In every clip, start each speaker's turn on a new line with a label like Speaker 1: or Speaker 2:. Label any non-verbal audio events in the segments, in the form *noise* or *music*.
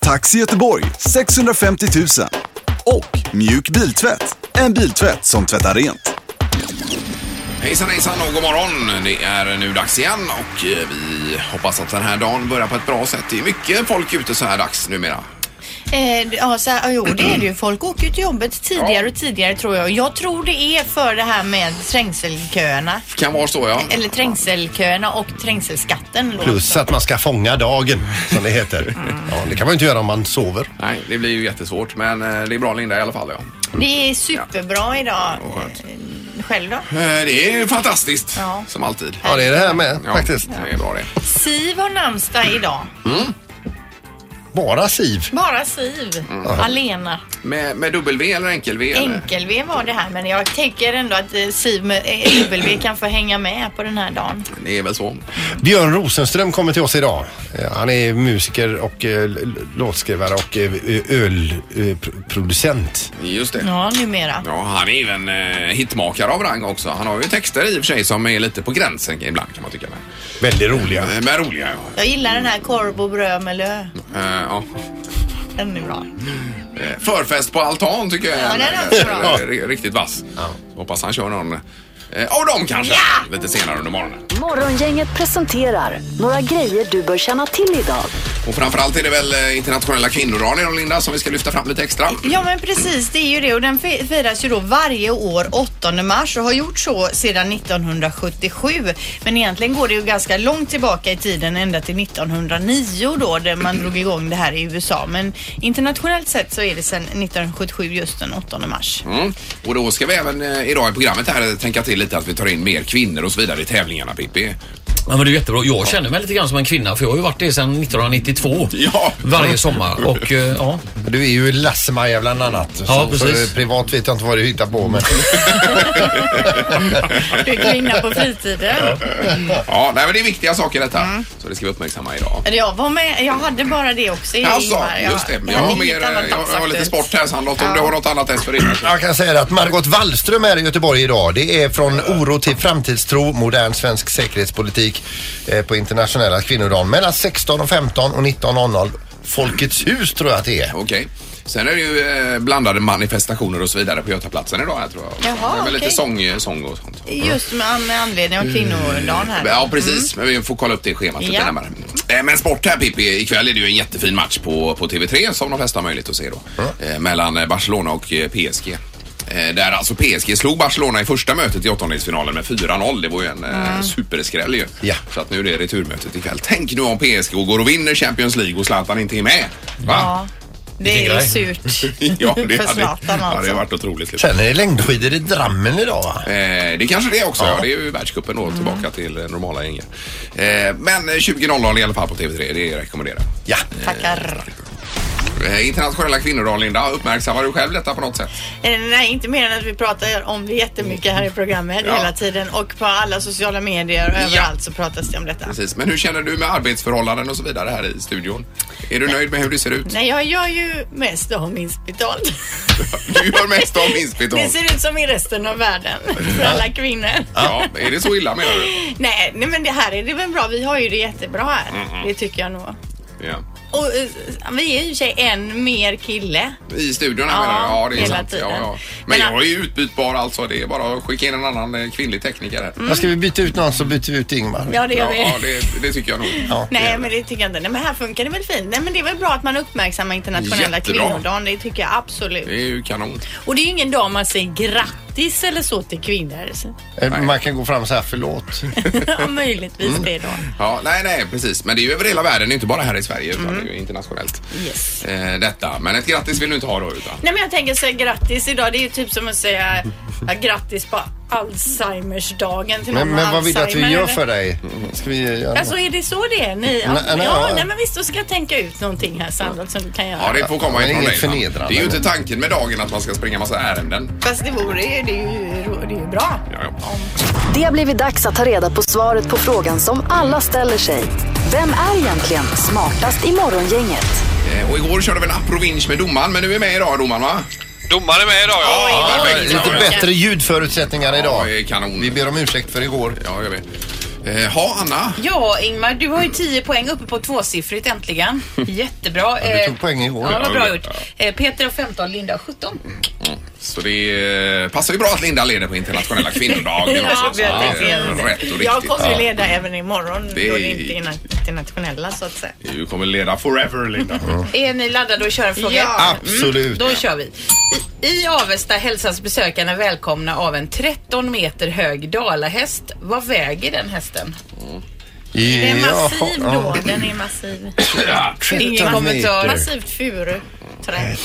Speaker 1: Taxi Göteborg 650 000. Och Mjuk Biltvätt, en biltvätt som tvättar rent.
Speaker 2: Hejsan hejsan och god morgon. Det är nu dags igen och eh, vi hoppas att den här dagen börjar på ett bra sätt. Det är mycket folk ute så här dags numera.
Speaker 3: Eh, ja, så, här- jo, det är det ju. Folk åker ju till jobbet tidigare och tidigare tror jag. Jag tror det är för det här med trängselköerna.
Speaker 2: Kan vara så ja.
Speaker 3: Eller trängselköerna och trängselskatten. då
Speaker 4: Plus
Speaker 3: också.
Speaker 4: att man ska fånga dagen, som det heter. Ja, det kan man ju inte göra om man sover.
Speaker 2: Nej, det blir ju jättesvårt men eh, det är bra Linda i alla fall. Ja.
Speaker 3: Det är superbra idag.
Speaker 2: vad skönt.
Speaker 3: Eh, Själv då?
Speaker 2: Eh, Det är ju fantastiskt
Speaker 3: Ja.
Speaker 2: som alltid.
Speaker 4: Ja, det är det här med
Speaker 2: Ja,
Speaker 4: faktiskt.
Speaker 2: Det är bra det.
Speaker 3: Siv har namnsdag idag.
Speaker 4: Bara Siv.
Speaker 3: Bara Siv. Alena.
Speaker 2: Med, med W eller eh, enkel-V? eller?
Speaker 3: Enkel-V var det här men jag tänker ändå att eh, Siv med eh, W kan få hänga med på den här dagen.
Speaker 2: Det är väl så.
Speaker 4: Björn Rosenström kommer till oss idag. Eh, Han är musiker och eh, l- l- låtskrivare och eh, ölproducent.
Speaker 2: Just det.
Speaker 3: Ja, numera.
Speaker 2: Ja, han är ju en eh, hitmakare av rang också. Han har ju texter i och för sig som är lite på gränsen ibland kan man tycka. Men,
Speaker 4: Väldigt roliga.
Speaker 2: Eh, men roliga ja.
Speaker 3: Jag gillar den här korv och bröd med lö.
Speaker 2: Eh, ja.
Speaker 3: Den är bra.
Speaker 2: Eh, Förfest på altan tycker jag
Speaker 3: Ja, den är också bra.
Speaker 2: Eh, ri- Riktigt vass. Hoppas han kör någon eh, av dem kanske lite senare under morgonen.
Speaker 5: Morgongänget presenterar några grejer du bör känna till idag.
Speaker 2: Och framförallt är det väl eh, internationella kvinnodagen idag Linda som vi ska lyfta fram lite extra.
Speaker 3: Ja men precis, det är ju det och den fi- firas ju då varje år 8 mars och har gjort så sedan 1977. Men egentligen går det ju ganska långt tillbaka i tiden, ända till 1909 då, där man drog igång det här i USA. Men internationellt sett så är det sedan 1977 just den 8 mars.
Speaker 2: Mm. Och då ska vi även eh, idag i programmet här eh, tänka till lite att vi tar in mer kvinnor och så vidare i tävlingarna Pippi.
Speaker 6: Ja, men det är jättebra. Jag känner mig lite grann som en kvinna för jag har ju varit det sedan 1992.
Speaker 2: Ja.
Speaker 6: Varje sommar. Och eh, ja,
Speaker 4: Du är ju Lasse-Maja bland annat. Så,
Speaker 6: Ja, precis.
Speaker 4: Så privat vet jag inte vad du hittar på. Men
Speaker 3: Du är kvinna på fritiden.
Speaker 2: *laughs* Ja, nej, men det är viktiga saker detta.
Speaker 3: Mm.
Speaker 2: Så det ska vi uppmärksamma idag.
Speaker 3: Eller Jag var med, jag hade bara det också i
Speaker 2: Alltså,
Speaker 3: Ingmar.
Speaker 2: just det. Jag
Speaker 3: hade
Speaker 2: har,
Speaker 3: inget
Speaker 2: mer, eh,
Speaker 3: annat
Speaker 2: jag, jag har lite
Speaker 3: dagsaktuellt.
Speaker 2: sport här Sandlott om du har något annat dessförinnan.
Speaker 4: jag kan säga att Margot Wallström är i Göteborg idag. Det är från oro till framtidstro, modern svensk säkerhetspolitik eh, på internationella kvinnodagen. Mellan 16 och 15 och 19.00. Folkets hus tror jag att det är.
Speaker 2: Okej. Sen är det ju eh, blandade manifestationer och så vidare på Götaplatsen idag här, tror jag.
Speaker 3: Jaha,
Speaker 2: det är väl lite
Speaker 3: okej.
Speaker 2: sång, eh, sång och sånt.
Speaker 3: Just med, med anledning av kvinnodagen här.
Speaker 2: Ja precis, men vi får kolla upp det schemat lite
Speaker 3: Mm. Ja.
Speaker 2: närmare. Eh, Men sport här Pippi, ikväll är det ju en jättefin match på, på TV3 som de flesta har möjlighet att se då. Eh, Mellan eh, Barcelona och eh, PSG. Eh, Där alltså PSG slog Barcelona i första mötet i åttondelsfinalen med 4-0. Det var ju en eh,
Speaker 3: Mm.
Speaker 2: superskräll ju.
Speaker 4: Ja.
Speaker 2: Så att nu är det returmötet ikväll. Tänk nu om PSG går och vinner Champions League och Zlatan inte är med. Va?
Speaker 3: Ja, det
Speaker 6: Vilken
Speaker 3: är
Speaker 6: grej.
Speaker 3: surt.
Speaker 2: *laughs* Ja, det
Speaker 3: För
Speaker 2: hade,
Speaker 3: Zlatan
Speaker 2: ja, det
Speaker 3: alltså.
Speaker 2: hade varit otroligt. Liksom.
Speaker 4: Sen är det längdskidor i Drammen idag va?
Speaker 2: Eh, det kanske det är också. Ja. det är ju världscupen då tillbaka till eh, normala gänget. Eh, men eh, 20.00 i alla fall på TV3. Det rekommenderar jag.
Speaker 4: Ja.
Speaker 3: Tackar.
Speaker 2: Eh, Internationella kvinnodagen, Linda. Uppmärksammar du själv detta på något sätt?
Speaker 3: Eh, Nej, inte mer än att vi pratar om det jättemycket här i programmet
Speaker 2: Ja.
Speaker 3: hela tiden och på alla sociala medier och
Speaker 2: Ja.
Speaker 3: överallt så pratas det om detta.
Speaker 2: Precis. Men hur känner du med arbetsförhållanden och så vidare här i studion? Är du nöjd med hur det ser ut?
Speaker 3: Nej, jag gör ju mest av minst betalt.
Speaker 2: *laughs* Du gör *laughs* mest av minst betalt.
Speaker 3: Det ser ut som i resten av världen för alla kvinnor.
Speaker 2: Ja, är det så illa menar du?
Speaker 3: Nej, nej, men det här är det väl bra. Vi har ju det jättebra här. Det tycker jag nog.
Speaker 2: Ja.
Speaker 3: Och eh, vi är ju i och för sig en mer kille.
Speaker 2: I studion här
Speaker 3: Ja,
Speaker 2: menar du? Ja, det är
Speaker 3: hela
Speaker 2: sant.
Speaker 3: tiden.
Speaker 2: Ja, ja. Men
Speaker 3: Men
Speaker 2: jag
Speaker 3: att-
Speaker 2: är ju utbytbar alltså. Det är bara att skicka in en annan eh, kvinnlig tekniker här.
Speaker 4: Ska vi byta ut någon så byter vi ut Ingmar.
Speaker 3: Ja, det gör vi.
Speaker 2: Ja, det, det tycker jag
Speaker 3: *laughs*
Speaker 2: nog.
Speaker 3: Nej, men det tycker jag inte. Nej, men här funkar det väl fint. Nej, men det är väl bra att man uppmärksammar internationella
Speaker 2: Jättebra.
Speaker 3: kvinnodagen. Det tycker jag absolut.
Speaker 2: Det är ju kanon.
Speaker 3: Och det är ju ingen dag man säger grattis eller så till kvinnor.
Speaker 4: *laughs*
Speaker 3: Så,
Speaker 4: Eh, Man kan gå fram och säga förlåt.
Speaker 3: ja, möjligtvis
Speaker 4: Mm.
Speaker 3: det då.
Speaker 2: Ja, nej, nej, precis. Men det är ju över hela världen, det är inte bara här i Sverige utan det är ju internationellt.
Speaker 3: Mm. Yes.
Speaker 2: Eh, detta. Men ett grattis vill du inte ha då utan?
Speaker 3: Nej men jag tänker säga grattis idag. Det är ju typ som att säga ja, grattis på Alzheimers-dagen till någon
Speaker 4: Men,
Speaker 3: med
Speaker 4: men vad vill du att vi
Speaker 3: Alzheimer,
Speaker 4: gör
Speaker 3: eller?
Speaker 4: för dig? Ska vi eh, göra
Speaker 3: Alltså är det så det är? Ni, ja,
Speaker 4: Nej, nej,
Speaker 3: ja,
Speaker 4: ja.
Speaker 3: nej men visst då ska jag tänka ut någonting här Sandra som du kan göra.
Speaker 2: Ja, det får komma
Speaker 4: Ja, men inget
Speaker 2: ifrån dig. va?
Speaker 4: förnedrande.
Speaker 2: Det är ju inte tanken med dagen att man ska springa massa ärenden.
Speaker 3: Fast det vore det är ju, det är ju bra.
Speaker 2: Ja, ja.
Speaker 5: Det har blivit dags att ta reda på svaret på frågan som alla ställer sig. Vem är egentligen smartast i Morgongänget?
Speaker 2: Eh, Och igår körde vi en aprovinch med domaren, men nu är med idag domaren va?
Speaker 7: Domare med idag ja.
Speaker 4: Ja,
Speaker 2: Oj,
Speaker 4: men Lite
Speaker 2: oj, oj.
Speaker 4: bättre ljudförutsättningar
Speaker 2: Ja,
Speaker 4: idag.
Speaker 2: det är kanon.
Speaker 4: Vi ber om ursäkt för igår.
Speaker 2: Ja, gör vi. Eh, Ha Anna.
Speaker 8: Ja, Ingmar, du har ju 10 poäng uppe på tvåsiffrigt
Speaker 2: *laughs*
Speaker 8: äntligen. Jättebra.
Speaker 4: Ja, du
Speaker 8: Eh,
Speaker 4: tog poäng igår.
Speaker 8: Ja, vad bra
Speaker 2: Ja,
Speaker 8: gjort. Eh, Peter har 15, Linda har 17.
Speaker 2: Så det eh, passar ju bra att Linda leder på internationella
Speaker 3: *laughs*
Speaker 2: kvinnodagen också. Så det
Speaker 3: jag
Speaker 2: är
Speaker 3: tänkte-
Speaker 2: Rätt och
Speaker 3: Jag
Speaker 2: riktigt.
Speaker 3: kommer ju leda även imorgon
Speaker 2: Det
Speaker 3: då
Speaker 2: är-
Speaker 3: det inte är internationella så att säga.
Speaker 2: Du kommer leda forever Linda.
Speaker 8: Är ni laddade att köra en fråga? Mm,
Speaker 3: Ja.
Speaker 4: Absolut.
Speaker 8: Då kör vi. I, I Avesta hälsas besökarna välkomna av en 13 meter hög dalahäst. Vad väger den hästen?
Speaker 3: Det är
Speaker 4: Ja,
Speaker 3: massiv då.
Speaker 4: ja.
Speaker 3: Den är massiv.
Speaker 2: Ja,
Speaker 8: Ingen kommentar.
Speaker 3: Massivt furuträ.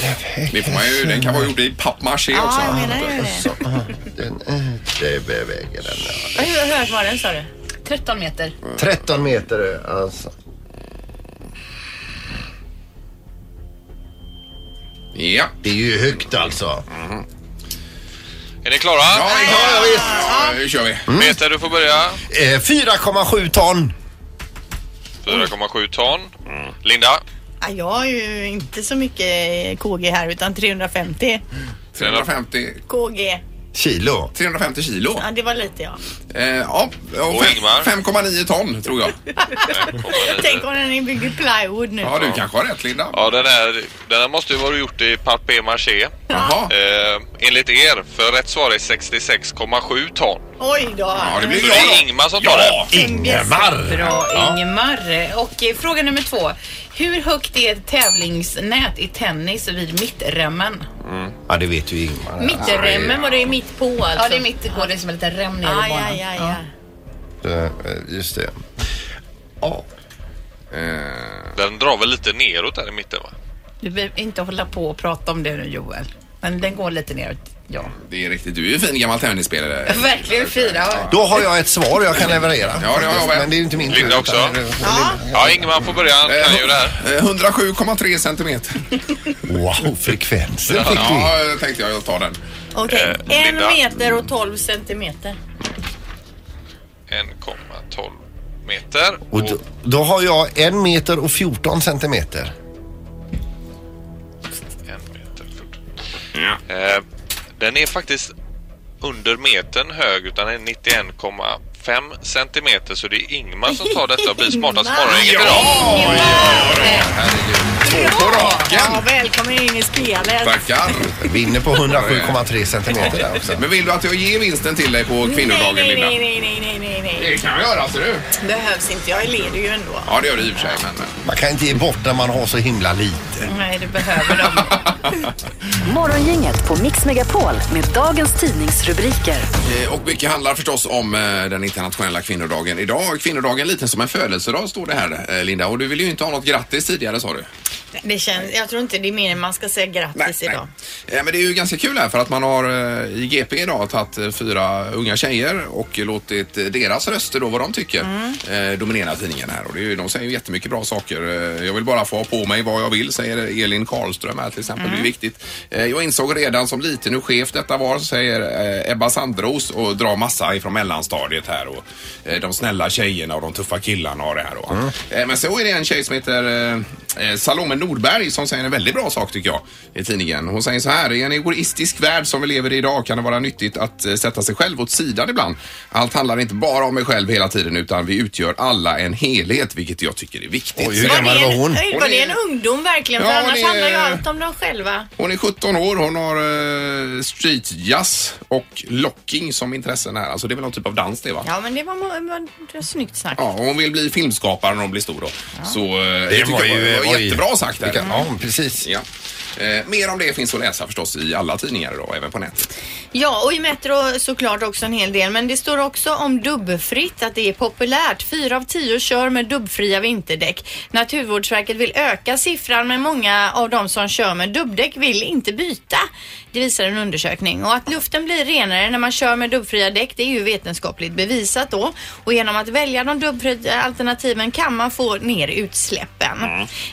Speaker 2: det får man ju, den kan vara gjord i pappmaché också.
Speaker 3: Ja, jag menar ju det.
Speaker 4: Den, eh, det väger den. ja.
Speaker 8: Hur hög var den sa du? 13 meter.
Speaker 4: 13 meter alltså.
Speaker 2: Ja.
Speaker 4: Det är ju högt alltså.
Speaker 7: Är ni klara?
Speaker 2: Ja, det är klart.
Speaker 4: Ja, visst.
Speaker 2: Ja, Nu kör vi.
Speaker 4: Mm.
Speaker 7: Peter du får börja.
Speaker 4: Eh, 4,7 ton.
Speaker 7: 4,7 ton. Linda.
Speaker 3: Ja, jag har ju inte så mycket KG här utan 350
Speaker 2: 350,
Speaker 3: KG.
Speaker 4: Kilo.
Speaker 2: 350 kilo.
Speaker 3: Ja, det var lite ja.
Speaker 2: Eh, ja, och
Speaker 7: Och Ingmar.
Speaker 2: fem- 5,9 ton tror
Speaker 7: *laughs*
Speaker 2: jag.
Speaker 3: Tänk om den är byggd i plywood nu.
Speaker 2: Ja, du kanske har rätt Linda.
Speaker 7: Ja den här, den här måste ju vara gjort i papier maché.
Speaker 2: Jaha.
Speaker 7: Eh, enligt er, för rätt svar är 66,7 ton.
Speaker 3: Oj då.
Speaker 2: Ja, det blir
Speaker 7: Så
Speaker 2: bra
Speaker 7: det
Speaker 2: då.
Speaker 7: är Ingmar som tar
Speaker 2: Ja.
Speaker 7: det.
Speaker 4: Ingemar.
Speaker 8: Bra Ingemar. Och eh, fråga nummer två. Hur högt är ett tävlingsnät i tennis vid mittremmen?
Speaker 4: Ja, det vet ju Ingmar.
Speaker 3: Mittremmen var det ju mitt på alltså.
Speaker 8: Ja, det är mitt på. Det är som en liten rem nere i
Speaker 3: Aj,
Speaker 8: banan.
Speaker 3: aj, aj, aj.
Speaker 4: Eh, Just det. Ja.
Speaker 2: Eh,
Speaker 7: Den drar väl lite neråt där i mitten va?
Speaker 8: Du behöver inte hålla på och prata om det nu Joel. Men den går lite neråt. Ja.
Speaker 2: Det är riktigt. Du är ju en fin gammal *laughs* tennisspelare.
Speaker 8: Verkligen fyra.
Speaker 4: Då har jag ett svar jag kan leverera.
Speaker 2: Ja, det har jag med.
Speaker 4: Men det är ju inte min
Speaker 7: Linda också.
Speaker 4: utan det är-
Speaker 7: Ja, Ingmar får börja. Han kan ju det här.
Speaker 2: Eh, 107,3 centimeter.
Speaker 4: Wow, frekvensen fick vi.
Speaker 2: Ja, eh, tänkte jag. Jag tar den.
Speaker 3: Okej,
Speaker 7: Eh,
Speaker 3: en
Speaker 7: Linda.
Speaker 3: meter och 12 centimeter.
Speaker 7: 1,12 meter.
Speaker 4: Och då, då har jag en meter och 14 centimeter.
Speaker 7: En meter fort. Eh, den är faktiskt under metern hög utan är 91,5 centimeter så det är Ingmar som tar detta och
Speaker 9: *laughs*
Speaker 7: blir smartast
Speaker 3: Ingmar!
Speaker 7: morgon idag.
Speaker 2: Två på
Speaker 3: Ja,
Speaker 2: raken.
Speaker 3: välkommen in i spelet.
Speaker 2: Tackar.
Speaker 4: Vinner på 107,3 centimeter där också.
Speaker 2: Men vill du att jag ger vinsten till dig på kvinnodagen,
Speaker 3: nej, nej,
Speaker 2: Linda?
Speaker 3: nej, nej, nej, nej, nej.
Speaker 2: Det kan jag göra, ser du.
Speaker 3: Behövs inte, jag leder ju ändå.
Speaker 2: Ja, det gör du i och för sig, men...
Speaker 4: Man kan inte ge bort när man har så himla lite.
Speaker 8: Nej, du behöver dem.
Speaker 5: Morgongänget på Mix Megapol med dagens tidningsrubriker.
Speaker 2: Eh, Och mycket handlar förstås om eh, den internationella kvinnodagen idag. Kvinnodagen lite som en födelsedag står det här, eh, Linda. Och du ville ju inte ha något grattis tidigare, sa du.
Speaker 3: *laughs* Det känns, jag tror inte det är mer än man ska säga grattis idag.
Speaker 2: Eh, Men det är ju ganska kul här för att man har eh, i GP idag tagit eh, fyra unga tjejer och låtit eh, deras röster då, vad de tycker, eh, dominera tidningen här. Och det är ju, de säger ju jättemycket bra saker. Eh, Jag vill bara få ha på mig vad jag vill, säger Elin Karlström här till exempel. Det är viktigt. Eh, Jag insåg redan som liten hur skevt detta var, säger eh, Ebba Sandros och drar massa ifrån mellanstadiet här. Och eh, de snälla tjejerna och de tuffa killarna har det här då.
Speaker 4: Mm.
Speaker 2: Eh, Men så är det en tjej som heter eh, Eh, Salome Nordberg som säger en väldigt bra sak tycker jag i tidningen. Hon säger så här, i en egoistisk värld som vi lever i idag kan det vara nyttigt att eh, sätta sig själv åt sidan ibland. Allt handlar inte bara om mig själv hela tiden utan vi utgör alla en helhet vilket jag tycker är viktigt.
Speaker 4: Oj, hur gammal var hon?
Speaker 3: Oj, Var det en ungdom verkligen? För
Speaker 2: Ja,
Speaker 3: annars
Speaker 2: det-
Speaker 3: handlar ju allt om dem själva.
Speaker 2: Hon är 17 år, hon har eh, streetjazz och locking som intressen här. Alltså det är väl någon typ av dans det va?
Speaker 3: Ja, men det var, må- var, det var snyggt snack.
Speaker 2: Ja, och hon vill bli filmskapare när hon blir stor då. Så eh, det,
Speaker 4: var
Speaker 2: tycker jag
Speaker 4: ju-
Speaker 2: var, var
Speaker 4: var ju-
Speaker 2: jättebra sagt där.
Speaker 4: Ja, precis.
Speaker 2: Ja. Eh, mer om det finns att läsa förstås i alla tidningar idag, även på nätet.
Speaker 3: Ja, och i Metro såklart också en hel del. Men det står också om dubbfritt, att det är populärt. Fyra av tio kör med dubbfria vinterdäck. Naturvårdsverket vill öka siffran, men många av de som kör med dubbdäck vill inte byta. Det visar en undersökning. Och att luften blir renare när man kör med dubbfria däck, det är ju vetenskapligt bevisat då. Och genom att välja de dubbfria alternativen kan man få ner utsläppen.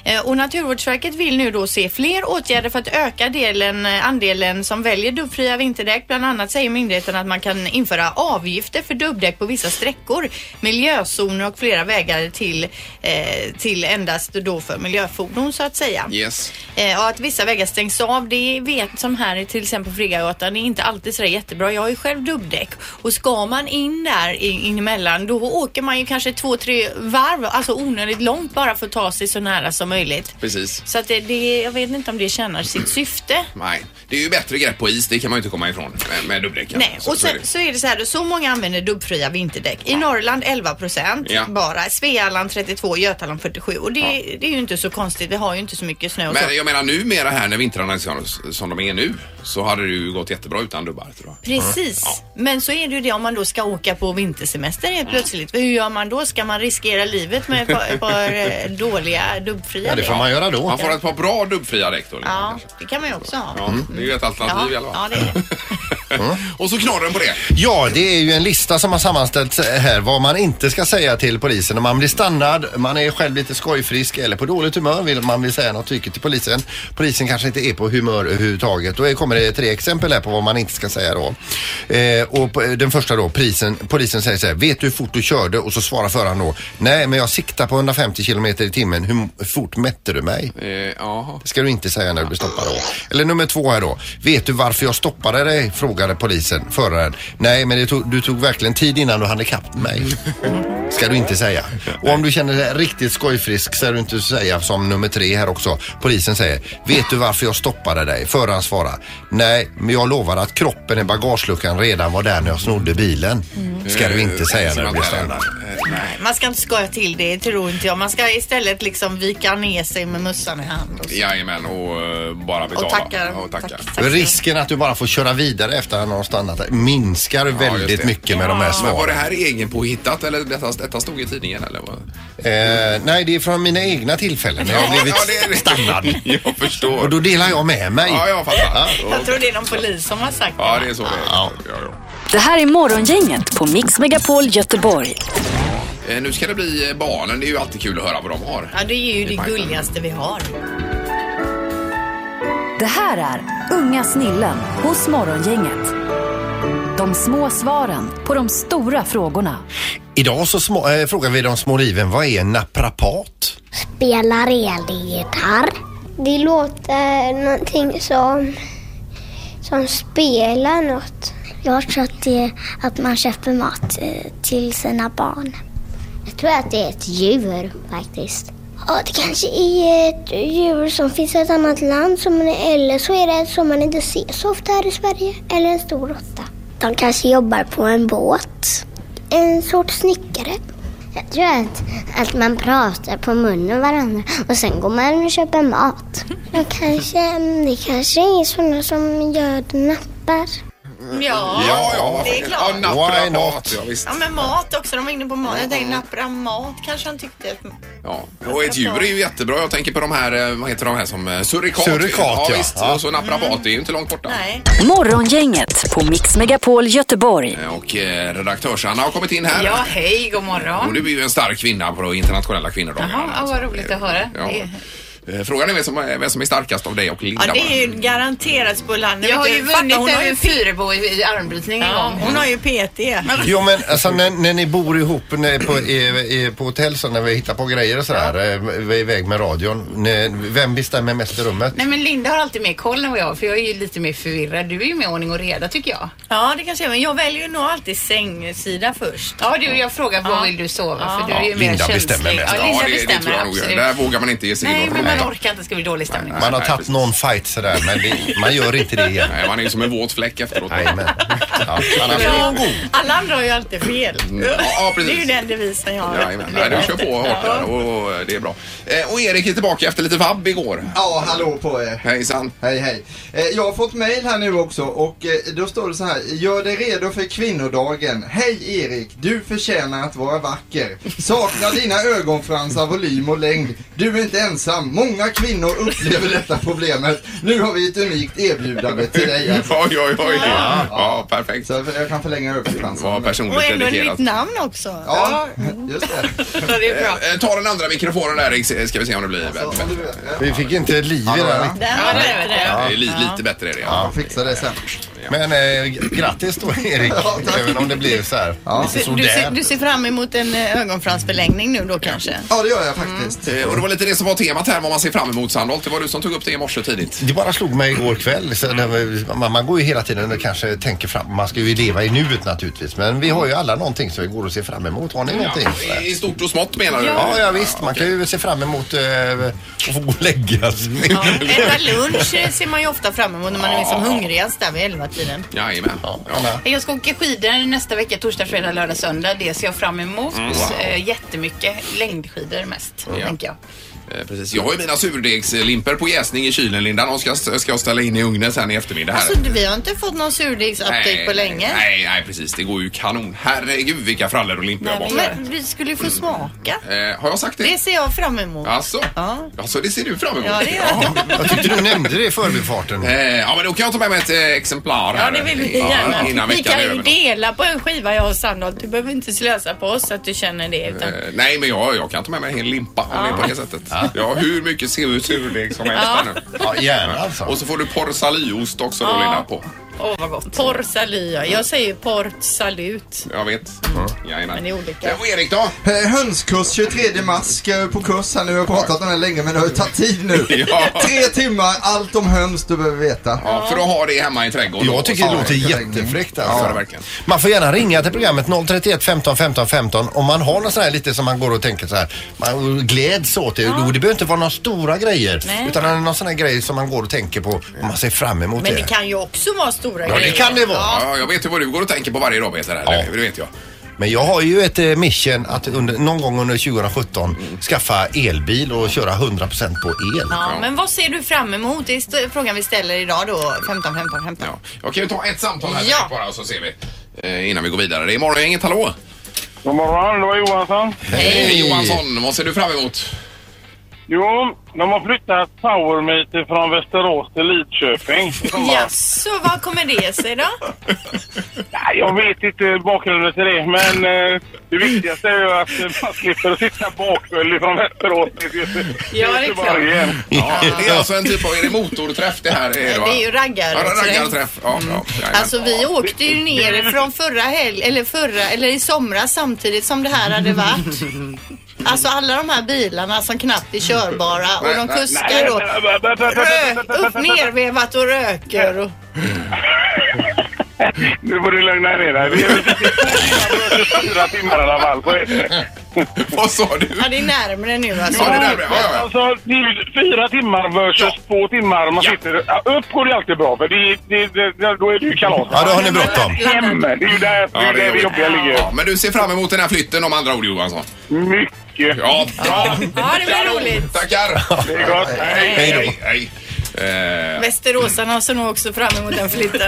Speaker 3: Eh, Och Naturvårdsverket vill nu då se fler åtgärder för att öka delen, eh, andelen som väljer dubbfria vinterdäck. Bland annat säger myndigheten att man kan införa avgifter för dubbdäck på vissa sträckor, miljözoner och flera vägar till, eh, till endast då för miljöfordon så att säga.
Speaker 2: Yes.
Speaker 3: Eh, och att vissa vägar stängs av, det vet som här i till exempel på Friggagatan, det är inte alltid sådär jättebra. Jag har ju själv dubbdäck och ska man in där i- in emellan då åker man ju kanske två, tre varv, alltså onödigt långt bara för att ta sig så nära som möjligt.
Speaker 2: Precis.
Speaker 3: Så att det, det, jag vet inte om det tjänar sitt syfte.
Speaker 2: Nej, det är ju bättre grepp på is, det kan man ju inte komma ifrån med, med dubbdäcken.
Speaker 3: Nej,
Speaker 2: Så-
Speaker 3: och
Speaker 2: så är
Speaker 3: sen
Speaker 2: det.
Speaker 3: så är det så här då, så många använder dubbfria vinterdäck. I Norrland 11 procent
Speaker 2: Ja.
Speaker 3: bara, Svealand 32, Götaland 47 och det, det är ju inte så konstigt, vi har ju inte så mycket snö och så.
Speaker 2: Men jag menar numera här när vintrarna är så- som de är nu så hade det ju gått jättebra utan dubbar tror jag.
Speaker 3: Precis, men så är det ju det om man då ska åka på vintersemester helt plötsligt. Hur gör man då? Ska man riskera livet med ett par, ett par eh, dåliga dubbfria
Speaker 4: Ja, det får man göra då.
Speaker 2: Man får ett par bra dubbfria däck då. liksom,
Speaker 3: Ja,
Speaker 2: kanske.
Speaker 3: det kan man ju också ha. Mm.
Speaker 2: Ja, det är ju ett alternativ i alla fall.
Speaker 3: ja, det är det.
Speaker 2: *laughs* Och så knorren på det.
Speaker 4: Ja, det är ju en lista som har sammanställts eh, här vad man inte ska säga till polisen. Om man blir stannad, man är själv lite skojfrisk eller på dåligt humör vill man vill säga något tycker till polisen. Polisen kanske inte är på humör överhuvudtaget. Då kommer det tre exempel här på vad man inte ska säga då. Eh, och på- den första då, polisen, polisen säger så här, vet du hur fort du körde? Och så svarar föraren då, nej men jag siktar på 150 kilometer i timmen, hur fort mätte du mig?
Speaker 2: Eh, Jaha.
Speaker 4: Det ska du inte säga när du blir stoppad. Då. Eller nummer två här då. Vet du varför jag stoppade dig? Frågade polisen föraren. Nej, men det tog, du tog verkligen tid innan du hann ikapp mig. Ska du inte säga. Och om du känner dig riktigt skojfrisk ska du inte säga som nummer tre här också. Polisen säger. Vet du varför jag stoppade dig? Föraren svarar. Nej, men jag lovar att kroppen i bagageluckan redan var där när jag snodde bilen. Ska du inte
Speaker 2: Eh,
Speaker 4: säga när du blir stannad.
Speaker 3: Nej, Man ska inte skoja till det, tror inte jag. Man ska istället liksom vika ner sig med mössan i hand. Och, så.
Speaker 2: Jajamän, och eh, bara betala.
Speaker 3: och tackar.
Speaker 2: Och tackar.
Speaker 3: Tack, tack.
Speaker 4: Risken att du bara får köra vidare efter att han har stannat där minskar
Speaker 2: just
Speaker 4: väldigt
Speaker 2: det.
Speaker 4: mycket med de här
Speaker 2: Men var det
Speaker 4: svaren.
Speaker 2: här egen påhittat eller detta, detta stod i tidningen eller? Vad?
Speaker 4: Eh, nej, det är från mina egna tillfällen. Jag har blivit stannad.
Speaker 2: *laughs* Jag förstår.
Speaker 4: Och då delar jag med mig.
Speaker 2: Ja, jag fattar.
Speaker 3: Jag tror det är någon polis som har sagt
Speaker 2: Ja, det är så det är. Ja, ja.
Speaker 5: Det här är Morgongänget på Mix Megapol Göteborg.
Speaker 2: Eh, Nu ska det bli eh, barnen. Det är ju alltid kul att höra vad de har.
Speaker 3: Ja, det är ju det
Speaker 2: Majken.
Speaker 3: gulligaste vi har.
Speaker 5: Det här är Unga snillen hos Morgongänget. De små svaren på de stora frågorna.
Speaker 4: Idag så små, eh, frågar vi de små liven, vad är en naprapat?
Speaker 10: Spelar elgitarr. Det låter någonting som, som spelar något. Jag tror att det är att man köper mat eh, till sina barn. Jag tror att det är ett djur faktiskt. Ja, det kanske är ett djur som finns i ett annat land som man, eller så är det som man inte ser så ofta här i Sverige. Eller en stor råtta. De kanske jobbar på en båt. En sorts snickare. Jag tror att, att man pratar på munnen varandra och sen går man och köper mat. Jag kanske, det kanske är sådana som gör nappar.
Speaker 3: Ja, det är klart.
Speaker 2: naprapat,
Speaker 4: Why not?
Speaker 2: Ja, visst.
Speaker 3: Ja men mat också, de var inne på mat. Jag tänkte nappra mat kanske han tyckte. att-
Speaker 2: Ja. Och ett djur är ju jättebra. Jag tänker på de här, eh, vad heter de här som eh, surikat?
Speaker 4: Surikat,
Speaker 2: ja.
Speaker 4: ja.
Speaker 2: visst.
Speaker 4: Ja.
Speaker 2: Och så
Speaker 10: Mm.
Speaker 2: naprapat, det är ju inte långt borta.
Speaker 3: Nej.
Speaker 5: Morgongänget på Mix Megapol Göteborg.
Speaker 2: Eh, Och eh, redaktörs-Anna har kommit in här.
Speaker 10: Ja, hej, god
Speaker 2: Och
Speaker 10: morgon.
Speaker 2: du är ju en stark kvinna på de internationella kvinnodagarna.
Speaker 10: Jaha, ja, vad roligt att höra.
Speaker 2: Ja.
Speaker 10: Det-
Speaker 2: Eh, Frågan är vem som är, vem som är starkast av dig och Linda.
Speaker 3: Ja det är ju
Speaker 2: bara.
Speaker 3: garanterat Spolander.
Speaker 10: Jag har
Speaker 3: Vet
Speaker 10: ju
Speaker 3: du, fatta, hon
Speaker 10: vunnit
Speaker 3: har ju
Speaker 10: en Fyrebo i, i armbrytning en
Speaker 3: Ja,
Speaker 10: gång.
Speaker 3: hon har ju PT.
Speaker 4: Jo men alltså när, när ni bor ihop när, på, i, i, på hotell så när vi hittar på grejer och sådär, eh, vi är iväg med radion. När, vem bestämmer mest i rummet?
Speaker 10: Nej men Linda har alltid mer koll än vad jag har, för jag är ju lite mer förvirrad. Du är ju mer ordning och reda tycker jag.
Speaker 3: Ja, det kanske är. Men jag väljer ju nog alltid sängsida först.
Speaker 10: Ja du, jag frågar var
Speaker 3: Ja.
Speaker 10: vill du sova? För du
Speaker 4: Ja,
Speaker 10: är ju mer
Speaker 4: Linda
Speaker 10: känslig.
Speaker 4: bestämmer mest.
Speaker 10: Ja, Linda
Speaker 2: det, det
Speaker 10: bestämmer
Speaker 2: tror jag nog.
Speaker 10: absolut.
Speaker 2: Där vågar man inte ge sig in
Speaker 10: Nej
Speaker 2: och
Speaker 10: men
Speaker 2: fråga.
Speaker 3: man orkar inte, det ska bli dålig stämning.
Speaker 4: Man har tagit någon fight sådär men det, man gör inte det igen.
Speaker 2: Nej, man är som en våt fläck efteråt.
Speaker 4: Jajamän. Ja, annars...
Speaker 3: Ja, alla andra har ju alltid fel.
Speaker 2: ja,
Speaker 3: det
Speaker 2: precis.
Speaker 3: är ju den devisen jag har.
Speaker 2: Jajamän, nej, du kör på hårt där och och det är bra. Eh, Och Erik är tillbaka efter lite vabb igår.
Speaker 11: Ja, hallå på er.
Speaker 2: Hejsan.
Speaker 11: Hej, hej. Eh, Jag har fått mejl här nu också och eh, då står det så här. Gör dig redo för kvinnodagen. Hej Erik, du förtjänar att vara vacker. Saknar dina ögonfransar volym och längd. Du är inte ensam. Många kvinnor upplever detta problemet. Nu har vi ett unikt erbjudande till dig.
Speaker 2: *laughs* Oj, oj, oj. Ja, ja perfekt.
Speaker 11: Så jag kan förlänga ögonfransarna.
Speaker 2: Vad personligt
Speaker 3: Och ändå
Speaker 2: dedikerat.
Speaker 3: mitt namn också.
Speaker 11: Ja, just
Speaker 3: *laughs*
Speaker 11: det.
Speaker 3: det är bra.
Speaker 2: Eh, eh, Ta den andra mikrofonen där Erik, så ska vi se om det blir bättre.
Speaker 4: Vi fick inte liv i den. här.
Speaker 3: Den var bättre.
Speaker 2: Det är li- lite bättre är det.
Speaker 4: Ja,
Speaker 11: fixa det sen.
Speaker 4: Men eh, grattis då Erik, även om det blev så här.
Speaker 3: Du,
Speaker 4: Lite
Speaker 3: ser- du, ser,
Speaker 4: sådär.
Speaker 3: du ser fram emot en eh, ögonfransförlängning nu då kanske?
Speaker 11: Ja, det gör jag faktiskt.
Speaker 2: Eh, Och det var lite det som var temat här, vad man ser fram emot Sandholt. Det var du som tog upp det i morse tidigt.
Speaker 4: Det bara slog mig igår kväll. Så när man, man går ju hela tiden och kanske tänker fram. Man ska ju leva i nuet naturligtvis. Men vi har ju alla någonting som vi går och ser fram emot. Har ni någonting?
Speaker 2: Ja, I stort och smått menar du?
Speaker 4: Ja, ja visst. Man kan ju se fram emot eh, att få gå och lägga sig.
Speaker 3: Ja. Äta lunch eh, ser man ju ofta fram emot när man är som hungrigast där vid elva tiden.
Speaker 2: Jajamän. Ja.
Speaker 3: Jag ska åka skidor nästa vecka, torsdag, fredag, lördag, söndag. Det ser jag fram emot
Speaker 2: Mm.
Speaker 3: eh, jättemycket. Längdskidor mest, tänker jag.
Speaker 2: Eh, Precis. Jag har ju mina surdegslimper på jäsning i kylen Linda. De ska, ska jag ställa in i ugnen sen i eftermiddag. Här.
Speaker 3: Alltså, vi har inte fått någon surdegsupdate på länge.
Speaker 2: Nej, nej precis. Det går ju kanon. Herregud vilka frallor och limpor jag
Speaker 3: Nej,
Speaker 2: bakar.
Speaker 3: men vi skulle ju få smaka.
Speaker 2: Eh, har jag sagt det?
Speaker 3: Det ser jag fram emot.
Speaker 2: Alltså?
Speaker 3: Ja.
Speaker 2: Alltså, det ser du fram emot?
Speaker 3: Ja, det gör jag.
Speaker 2: Jaha.
Speaker 4: Jag tyckte du nämnde det i förbifarten.
Speaker 2: Eh, ja, men då kan jag ta med mig ett eh, exemplar
Speaker 3: Ja,
Speaker 2: här.
Speaker 3: det vill vi
Speaker 2: Ja,
Speaker 3: gärna.
Speaker 2: Innan
Speaker 3: vi
Speaker 2: veckan
Speaker 3: kan
Speaker 2: är
Speaker 3: ju
Speaker 2: över. Eh,
Speaker 3: dela på en skiva jag och Sandholt. Du behöver inte slösa på oss att du känner det. Utan...
Speaker 2: Eh, nej, men jag, jag kan ta med mig en hel limpa om det är på det sättet. Ja, hur mycket sur- surdeg som helst här nu.
Speaker 4: Ja, gärna alltså.
Speaker 2: Och så får du porsaliost också då,
Speaker 3: Ja.
Speaker 2: Linda, på.
Speaker 3: Åh, vad gott. Porr salut, ja. Jag säger port salut.
Speaker 2: Jag vet. Jajamän.
Speaker 3: Men det är olika.
Speaker 2: Eh, Och Erik då?
Speaker 11: Eh, Hönskurs 23 mars ska jag på kurs här nu. Jag har pratat om det länge men det har ju tagit tid nu.
Speaker 4: *laughs*
Speaker 2: Ja.
Speaker 11: Tre timmar, allt om höns du behöver veta.
Speaker 2: Ja, för att ha det hemma i trädgården.
Speaker 4: Jag tycker det
Speaker 2: Ja,
Speaker 4: låter
Speaker 11: ja.
Speaker 4: jättefräckt
Speaker 2: Ja,
Speaker 4: alltså.
Speaker 2: verkligen.
Speaker 4: Man får gärna ringa till programmet 031 15 15 15 om man har något sån här lite som man går och tänker så här. Man gläds åt det. Och Det behöver inte vara några stora grejer.
Speaker 3: Nej.
Speaker 4: Utan någon sån här grej som man går och tänker på och man ser fram emot
Speaker 3: Men det kan ju också vara stora
Speaker 4: Ja, det
Speaker 3: grejer.
Speaker 4: kan det vara.
Speaker 2: Ja, jag vet ju vad du går och tänker på varje dag Peter. här.
Speaker 4: Ja.
Speaker 2: Det vet jag.
Speaker 4: Men jag har ju ett eh, mission att under, någon gång under 2017 skaffa elbil och köra 100% på el.
Speaker 3: Ja, men vad ser du fram emot? Det är st- frågan vi ställer idag då. 15, 15, 15.
Speaker 2: Ja. Jag kan ju ta ett samtal här
Speaker 3: Ja.
Speaker 2: direkt bara så ser vi. Eh, innan vi går vidare. Det är Morgongänget, hallå!
Speaker 12: God morgon, det var Johansson.
Speaker 2: Hej Johansson, vad ser du fram emot?
Speaker 12: Jo, de har flyttat Powermeter från Västerås till Lidköping.
Speaker 3: Jaså, vad kommer det sig då?
Speaker 12: Nej, Jag vet inte bakgrunden till det, men eh, det viktigaste är ju att man slipper sitta bakfull från Västerås till Göte-
Speaker 3: Ja, det är klart.
Speaker 12: Göteborg igen.
Speaker 2: Ja, det är alltså en typ av, är det motorträff det här? Är va?
Speaker 3: Det är ju
Speaker 2: Ja,
Speaker 3: raggar.
Speaker 2: raggarträff. Ja, ja, jajamän.
Speaker 3: Alltså vi åkte ju ner från förra helg, eller förra, eller i somras samtidigt som det här hade varit. Alltså alla de här bilarna som knappt är körbara och de kuskar och rök, upp nervevat och röker. Och...
Speaker 12: Nu får du lugna ner dig. Vi är väl fyra timmar i alla fall. Så är det.
Speaker 2: Vad sa du?
Speaker 3: Ja, det är närmre nu alltså.
Speaker 2: Ja, det där med. Ja, ja,
Speaker 12: Alltså, det är ju fyra timmar versus två timmar. Man
Speaker 2: Ja.
Speaker 12: sitter, ja, upp går det ju alltid bra, för det, det, det, då är det ju kalas.
Speaker 4: Ja, då har ni bråttom.
Speaker 12: Hem, det är ju där det,
Speaker 2: Ja,
Speaker 12: är där det jobbiga ligger.
Speaker 2: Ja, men du ser fram emot den här flytten om andra ord Johansson?
Speaker 12: Mycket.
Speaker 2: Ja, bra!
Speaker 3: Ja, det blir roligt.
Speaker 2: Tackar!
Speaker 12: Det är gott. Hej.
Speaker 2: Hej, hej, hej. Eh,
Speaker 3: Västeråsarna ser nog också fram emot den flytten.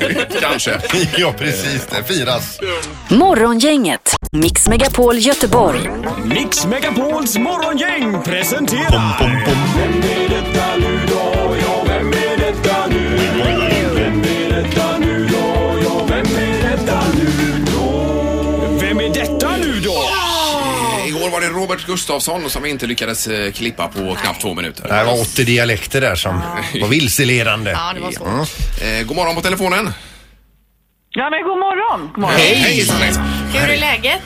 Speaker 2: Eh, kanske.
Speaker 4: *laughs* Ja, precis. Det firas.
Speaker 5: Morgongänget, Mix Megapol Göteborg.
Speaker 13: Mix Megapols morgongäng presenterar... Vem är detta nu då? Ja, vem är detta nu? Vem är detta nu då? Ja, vem är detta nu då? Vem är detta nu då?
Speaker 2: Eh, Igår var det Robert Gustafsson som vi inte lyckades eh, klippa på knappt två minuter.
Speaker 4: Det här var 80 dialekter där som var vilseledande.
Speaker 3: Ja, det var svårt.
Speaker 2: Eh, god morgon på telefonen.
Speaker 9: Ja, men god morgon. God morgon.
Speaker 2: Hej! Hejsan, hejsan.
Speaker 3: Hur är läget?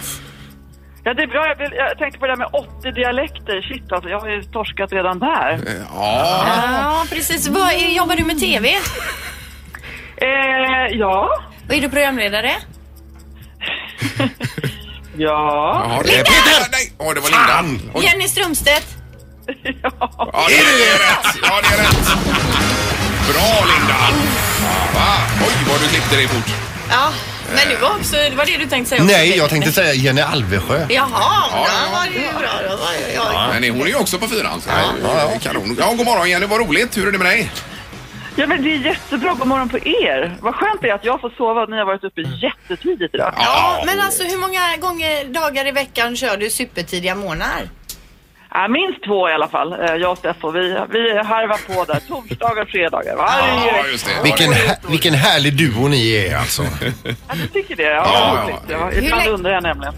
Speaker 9: Ja, det är bra. Jag, blev, jag tänkte på det där med 80 dialekter. Shit, alltså, jag har ju torskat redan där.
Speaker 2: Ja,
Speaker 3: Ja, precis. Vad, jobbar du med TV?
Speaker 9: Eh, ja.
Speaker 3: Och är du programledare?
Speaker 9: Ja.
Speaker 2: Eh, Linda! Nej, åh, det var Linda. Oj,
Speaker 3: Jenny Strömstedt?
Speaker 2: Ja, det är rätt! Ja, det är rätt! Bra, Linda! Va? Oj, vad du klippte dig fort.
Speaker 3: Ja, men det var också, det var det du tänkte säga också,
Speaker 4: Nej, jag
Speaker 3: Peter.
Speaker 4: tänkte säga Jenny Alvesjö.
Speaker 3: Jaha, men då var det ju bra då. Oj, oj, oj.
Speaker 2: Men hon är ju också på fyran. Så ja, ja. Kanon. Ja, god morgon Jenny, vad roligt. Hur är det med dig?
Speaker 9: Ja, men det är jättebra. God morgon på er. Vad skönt det är att jag får sova och ni har varit uppe jättetidigt idag.
Speaker 3: Ja, men alltså hur många gånger, dagar i veckan kör du supertidiga morgnar?
Speaker 9: Ja, minst två i alla fall, eh, jag och Steffo. Vi, vi harvar på där torsdagar och fredagar varje vecka.
Speaker 4: Vilken, här, vilken härlig duo ni är alltså.
Speaker 9: Jag tycker det. Ja, ja, roligt. Det var- Ibland undrar jag
Speaker 3: *laughs*
Speaker 9: nämligen.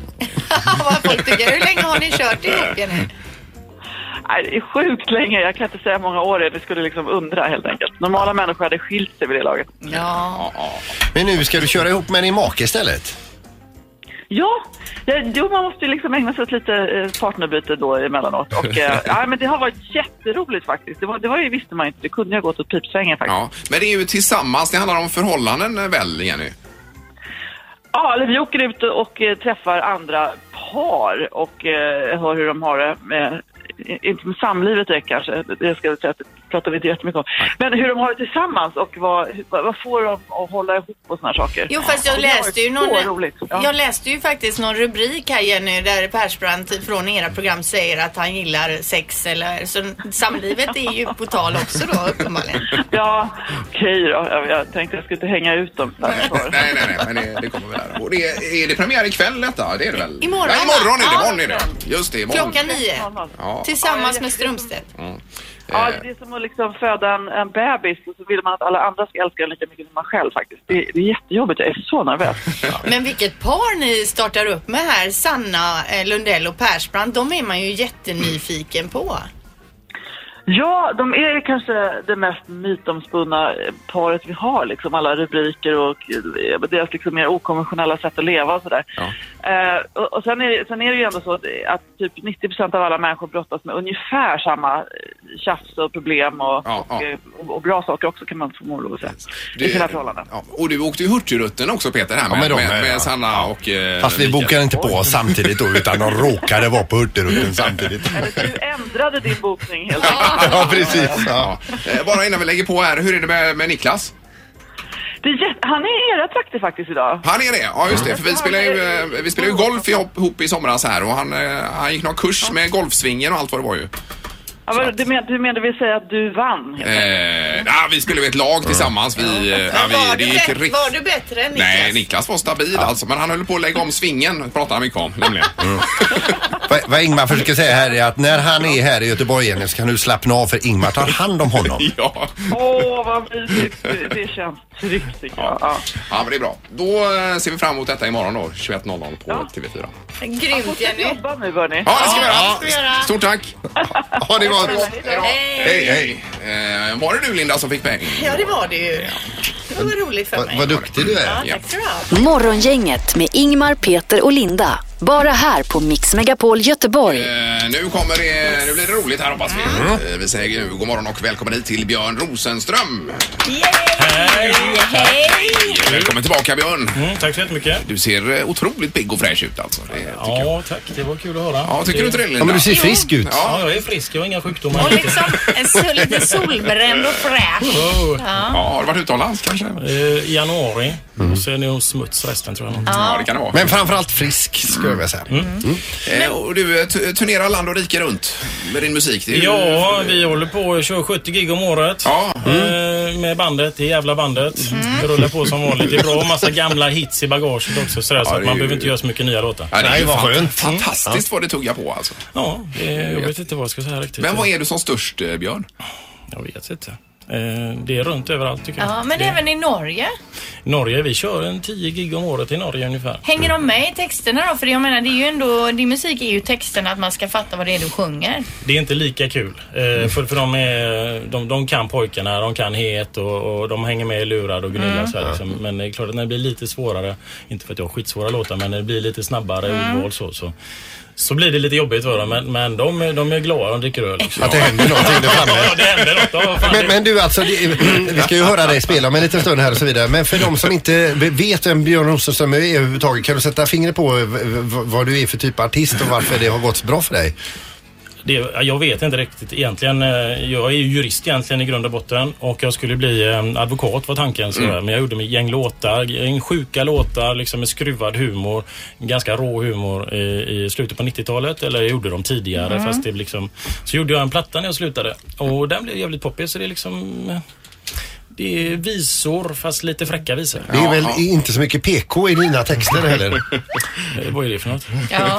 Speaker 3: Tycker, hur länge har ni kört ihop Jenny?
Speaker 9: Nej, det är sjukt länge. Jag kan inte säga hur många år det är. Det skulle liksom undra helt enkelt. Normala människor hade skilt sig vid det laget.
Speaker 3: Ja.
Speaker 4: Men nu ska du köra ihop med din make istället?
Speaker 9: Ja, ja, jo, man måste ju liksom ägna sig åt lite eh, partnerbyte då emellanåt. Och, eh, ja, men det har varit jätteroligt faktiskt. Det, var, det var ju, visste man ju inte. Det kunde ju ha gått åt pipsvängen faktiskt.
Speaker 2: Ja, men det är ju tillsammans, det handlar om förhållanden eh, väl, Jenny?
Speaker 9: *laughs* Ja, eller vi åker ut och eh, träffar andra par och eh, hör hur de har det. Med, i- inte med samlivet det kanske, det ska jag säga att det pratar vi inte jättemycket om. Men hur de har det tillsammans och vad, vad vad får de att hålla ihop och såna saker.
Speaker 3: Jo fast jag
Speaker 9: Och det har
Speaker 3: läste ju
Speaker 9: varit så
Speaker 3: någon,
Speaker 9: roligt. Ja.
Speaker 3: jag läste ju faktiskt någon rubrik här Jenny där Persbrandt från era program säger att han gillar sex eller så samlivet är ju på tal också då uppenbarligen.
Speaker 9: Ja, okej då. Jag, jag tänkte jag skulle inte hänga ut dem. Nej,
Speaker 2: nej, nej, men det, det kommer väl här. Och det är, är det premiär ikväll detta? Det är det väl?
Speaker 3: Imorgon,
Speaker 2: Nej, imorgon är det.
Speaker 3: va?
Speaker 2: Imorgon är det. Just det, imorgon.
Speaker 3: Klockan nio.
Speaker 2: Ja. eh,
Speaker 3: Tillsammans med Strömstedt.
Speaker 2: Mm.
Speaker 9: Ja,
Speaker 2: Eh,
Speaker 9: det är som att liksom föda en, en bebis och så vill man att alla andra ska älska en lika mycket som man själv faktiskt. Det, det är jättejobbigt. Jag är så nervös.
Speaker 3: Men vilket par ni startar upp med här, Sanna eh, Lundell och Persbrandt, de är man ju jättenyfiken på.
Speaker 2: Mm.
Speaker 9: Ja, de är ju kanske det mest mytomspunna eh, paret vi har. Liksom alla rubriker och eh, deras liksom mer okonventionella sätt att leva och sådär. Eh, och, och sen, är, det- sen är det ju ändå så att, att typ 90 procent av alla människor brottas med ungefär samma eh, tjafs och problem och, och, eh, och, och bra saker också kan man få lov att säga.
Speaker 14: *laughs*
Speaker 9: I sina förhållanden.
Speaker 2: Ja, och du åkte ju Hurtigrutten också Peter här med,
Speaker 4: med dem,
Speaker 2: med, med,
Speaker 4: ja.
Speaker 2: Sanna och eh,
Speaker 4: Fast vi
Speaker 2: Mikael.
Speaker 4: bokade inte på oss samtidigt då utan de råkade vara på Hurtigruten samtidigt.
Speaker 9: Du ändrade din bokning helt enkelt.
Speaker 4: Ja, precis.
Speaker 2: Ja. Eh, Bara innan vi lägger på här, hur är det med, med Niklas?
Speaker 9: Det är jätte- han är i era trakter faktiskt idag. Mm.
Speaker 2: Han är det, ja just det. För vi spelar ju, eh, vi spelar ju golf ihop, ihop i somras här och han, eh, han gick någon kurs med golfsvingen och allt vad det var ju.
Speaker 9: Ja, men du, men, du menar vi säger att du vann? helt enkelt.
Speaker 2: Eh, nah, vi spelade ju ett lag tillsammans. Vi, eh, ja,
Speaker 3: Var
Speaker 2: vi, det
Speaker 3: du,
Speaker 2: gick
Speaker 3: bättre,
Speaker 2: riktigt...
Speaker 3: var du bättre än Niklas?
Speaker 2: Nej, Niklas var stabil alltså, men han höll på att lägga om svingen, pratade han mycket om nämligen.
Speaker 4: Mm. Vad, vad Ingmar försöker säga här är att när han är här i Göteborg igen så kan du slappna av för Ingmar tar hand om honom.
Speaker 2: Ja.
Speaker 9: Åh, vad mysigt. Det- Det känns tryggt. tycker jag. Ja.
Speaker 2: ja, men det är bra. Då eh, ser vi fram emot detta imorgon då, 21.00 på TV4.
Speaker 3: Grymt Jenny.
Speaker 9: jobba nu hörni.
Speaker 2: Ja, det ska vi göra.
Speaker 3: Ja, det ska vi göra.
Speaker 2: Stort tack!
Speaker 4: Ha det gott!
Speaker 2: Hej, hej! Eh, var det du Linda som fick pengar?
Speaker 3: Ja, det var det ju. Det var roligt för mig.
Speaker 2: vad
Speaker 4: duktig du
Speaker 3: Ja, tack ska du ha.
Speaker 5: Morgongänget med Ingmar, Peter och Linda. Bara här på Mix Megapol Göteborg.
Speaker 2: Eh, Nu kommer det, nu blir det roligt här hoppas vi. Eh, Vi säger ju god morgon och välkommen hit till Björn Rosenström.
Speaker 14: Hej!
Speaker 3: Hej!
Speaker 2: Välkommen tillbaka Björn.
Speaker 14: tack så jättemycket.
Speaker 2: Du ser eh, otroligt pigg och fräsch ut alltså. Det,
Speaker 14: Ja, tack. Det var kul att höra.
Speaker 2: Ja, tycker du inte det, Linda? Ja, men du ser frisk ut.
Speaker 14: Ja, jag är frisk. Jag har inga sjukdomar.
Speaker 3: Och liksom en sol, lite solbränd och fräsch.
Speaker 14: Oh.
Speaker 3: Ja.
Speaker 2: har du varit utomlands kanske?
Speaker 14: I januari. Och så är det nog smuts resten tror jag.
Speaker 3: Ja,
Speaker 2: det kan det vara.
Speaker 4: Men framförallt frisk skulle jag vilja säga.
Speaker 2: Eh, Och du eh, tu- turnerar land och rike runt med din musik. Det är ju-
Speaker 14: Ja, vi håller på och kör 70 gig om året eh, med bandet, det jävla bandet.
Speaker 3: Mm.
Speaker 14: Det rullar på som vanligt. Det är bra massa gamla hits i bagaget också sådär, så
Speaker 2: det
Speaker 14: att
Speaker 2: är
Speaker 14: man
Speaker 2: ju-
Speaker 14: behöver inte göra så mycket nya låtar.
Speaker 2: Ja, det är ju fant-
Speaker 14: Mm.
Speaker 2: Fantastiskt vad det tuggar på alltså.
Speaker 14: Ja, eh, jag vet inte vad jag ska säga riktigt.
Speaker 2: Men vad är du som störst eh, Björn?
Speaker 14: Jag vet inte. Eh, Det är runt överallt tycker jag.
Speaker 3: Ja, men
Speaker 14: det...
Speaker 3: även i Norge.
Speaker 14: Norge, vi kör en 10 gig om året i Norge ungefär.
Speaker 3: Hänger de med i texterna då? För jag menar, det är ju ändå, din musik är ju texterna att man ska fatta vad det är du sjunger.
Speaker 14: Det är inte lika kul. Eh, för för de, är, de, de kan pojkarna, de kan het och, och de hänger med i lurar och gnillar.
Speaker 3: Mm.
Speaker 14: Så här, liksom. Men det är klart att när det blir lite svårare, inte för att jag har skitsvåra låtar, men när det blir lite snabbare
Speaker 3: Mm.
Speaker 14: ordval så, så, så blir det lite jobbigt för dem. Men, men de, är- de är glada, de dricker
Speaker 9: *laughs*
Speaker 14: öl. Liksom.
Speaker 4: Att det händer någonting där framme.
Speaker 14: Ja, det händer något. Ja, vad fan,
Speaker 4: Men,
Speaker 14: det-
Speaker 4: men du alltså, det, *clears throat* vi ska ju höra dig spela om en liten stund här och så vidare. Men för de som inte vet vem Björn Rosenström är överhuvudtaget, kan du sätta fingret på v- v- vad du är för typ av artist och varför det har gått så bra för dig?
Speaker 14: Det, jag vet inte riktigt egentligen. eh, Jag är ju jurist egentligen i grund och botten och jag skulle bli eh, advokat var tanken. Så
Speaker 15: Mm.
Speaker 14: Men jag gjorde med gäng låtar, gäng sjuka låtar liksom med skruvad humor. Ganska rå humor i, i slutet på 90-talet. Eller jag gjorde dem tidigare
Speaker 15: Mm.
Speaker 14: fast det blev liksom... Så gjorde jag en platta när jag slutade och den blev jävligt poppig så det är liksom... eh, Det är visor fast lite fräcka visor.
Speaker 4: Det är väl inte så mycket PK i dina texter
Speaker 14: *laughs*
Speaker 4: heller?
Speaker 14: Eh, Vad är det för något?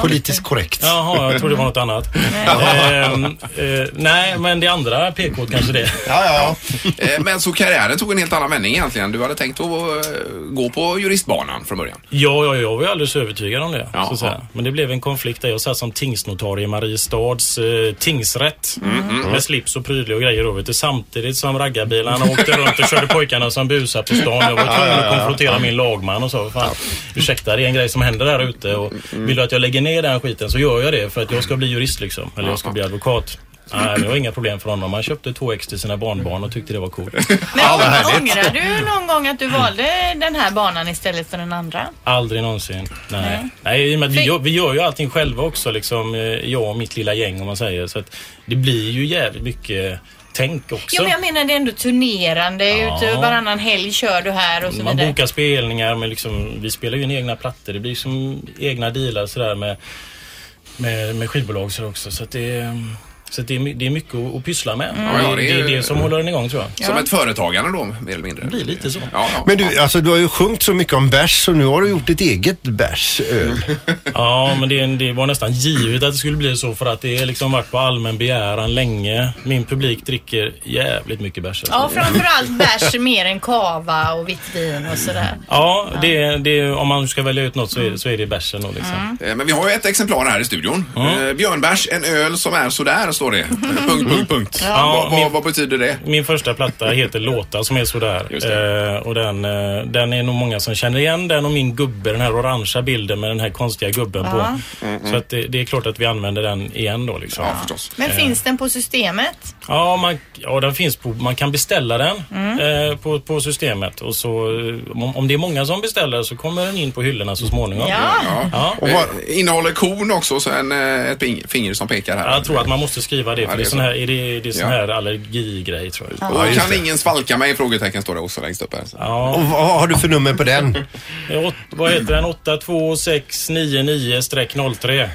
Speaker 2: *laughs*
Speaker 4: Politiskt korrekt.
Speaker 14: Jaha, jag trodde det var något annat. Ehm, eh, nej, men det andra PK kanske det.
Speaker 4: Ja, ja.
Speaker 2: Eh, Men så karriären tog en helt annan vändning egentligen. Du hade tänkt att eh, gå på juristbanan från början.
Speaker 14: Ja, ja, jag var ju alldeles övertygad om det. så att säga. Men det blev en konflikt där jag satt som tingsnotarie i Mariestads eh, tingsrätt.
Speaker 15: mm.
Speaker 14: Med slips och prydlig och grejer då, vet du. Samtidigt som raggarbilarna åkte runt och körde pojkarna som busar på stan. Jag var
Speaker 15: Ja, ja,
Speaker 14: tvungen
Speaker 15: ja,
Speaker 14: att
Speaker 15: ja.
Speaker 14: konfrontera min lagman och sa, fan, ursäkta det är en grej som händer där ute och vill du att jag lägger ner den skiten så gör jag det för att jag ska bli jurist liksom. Eller jag ska bli advokat. Nej, det var inga problem för honom. Han köpte 2X till sina barnbarn och tyckte det var coolt.
Speaker 3: Ångrar du någon gång att du valde den här banan istället för den andra?
Speaker 14: Aldrig någonsin. Nej. Nej. i och med att vi, gör, vi gör ju allting själva också, liksom, eh, jag och mitt lilla gäng om man säger. Så att det blir ju jävligt mycket tänk också.
Speaker 3: Jo, men jag menar det är ändå turnerande.
Speaker 14: Ja.
Speaker 3: Ute typ varannan helg kör du här och så
Speaker 14: man
Speaker 3: vidare.
Speaker 14: bokar spelningar, men liksom, vi spelar ju in egna plattor. Det blir som egna dealar sådär med, med, med skivbolag så också. Så att det, är- så att det, är, my- det är mycket att, att pyssla med.
Speaker 2: Ja, ja,
Speaker 14: Mm, det,
Speaker 2: det är
Speaker 14: det
Speaker 2: ju-
Speaker 14: är det som håller den igång tror jag.
Speaker 2: Som ett företagande då, mer eller mindre. Det
Speaker 14: blir lite så.
Speaker 2: Ja,
Speaker 4: Men du, alltså du har ju sjungit så mycket om bärs så nu har du gjort ditt eget bärsöl.
Speaker 14: Ja, men det, det var nästan givet att det skulle bli så för att det har liksom varit på allmän begäran länge. Min publik dricker jävligt mycket bärs. alltså.
Speaker 3: Ja, framförallt bärs mer än kava och vitt vin och sådär.
Speaker 14: Ja, det, det, om man ska välja ut något så är, så är det bärsen då liksom.
Speaker 2: Eh, Men vi har ju ett exemplar här i studion. Eh, Björnbärs, en öl som är sådär, står
Speaker 14: *laughs*
Speaker 2: det. punkt, punkt, punkt.
Speaker 14: Ja,
Speaker 2: vad, vad,
Speaker 14: min-
Speaker 2: vad betyder det?
Speaker 14: Min första platta heter Låtar som är sådär. Eh, och den, eh, den är nog många som känner igen den och min gubbe, den här orangea bilden med den här konstiga gubben
Speaker 3: Ja.
Speaker 14: på. Så att det, det är klart att vi använder den igen då liksom. Ja, förstås.
Speaker 3: Men finns den på systemet?
Speaker 14: Ja, man, ja den finns på, man kan beställa den eh, på, på systemet. Och så, eh, om, om det är många som beställer så kommer den in på hyllorna så småningom.
Speaker 2: Ja.
Speaker 14: Ja.
Speaker 2: Eh, Innehåller korn också och så en, eh, ett ping- finger som pekar här.
Speaker 14: Jag tror att man måste skriva det,
Speaker 2: Ja,
Speaker 14: för
Speaker 2: det
Speaker 14: det
Speaker 2: är
Speaker 14: är sån
Speaker 2: så.
Speaker 14: här, är det, det är sån
Speaker 2: Ja.
Speaker 14: här allergigrej tror jag.
Speaker 2: Och kan ingen svalka mig? Frågetecken står det också längst upp här.
Speaker 4: Och vad har du för nummer på den?
Speaker 14: Eh, åt- Vad heter den? 82699-03.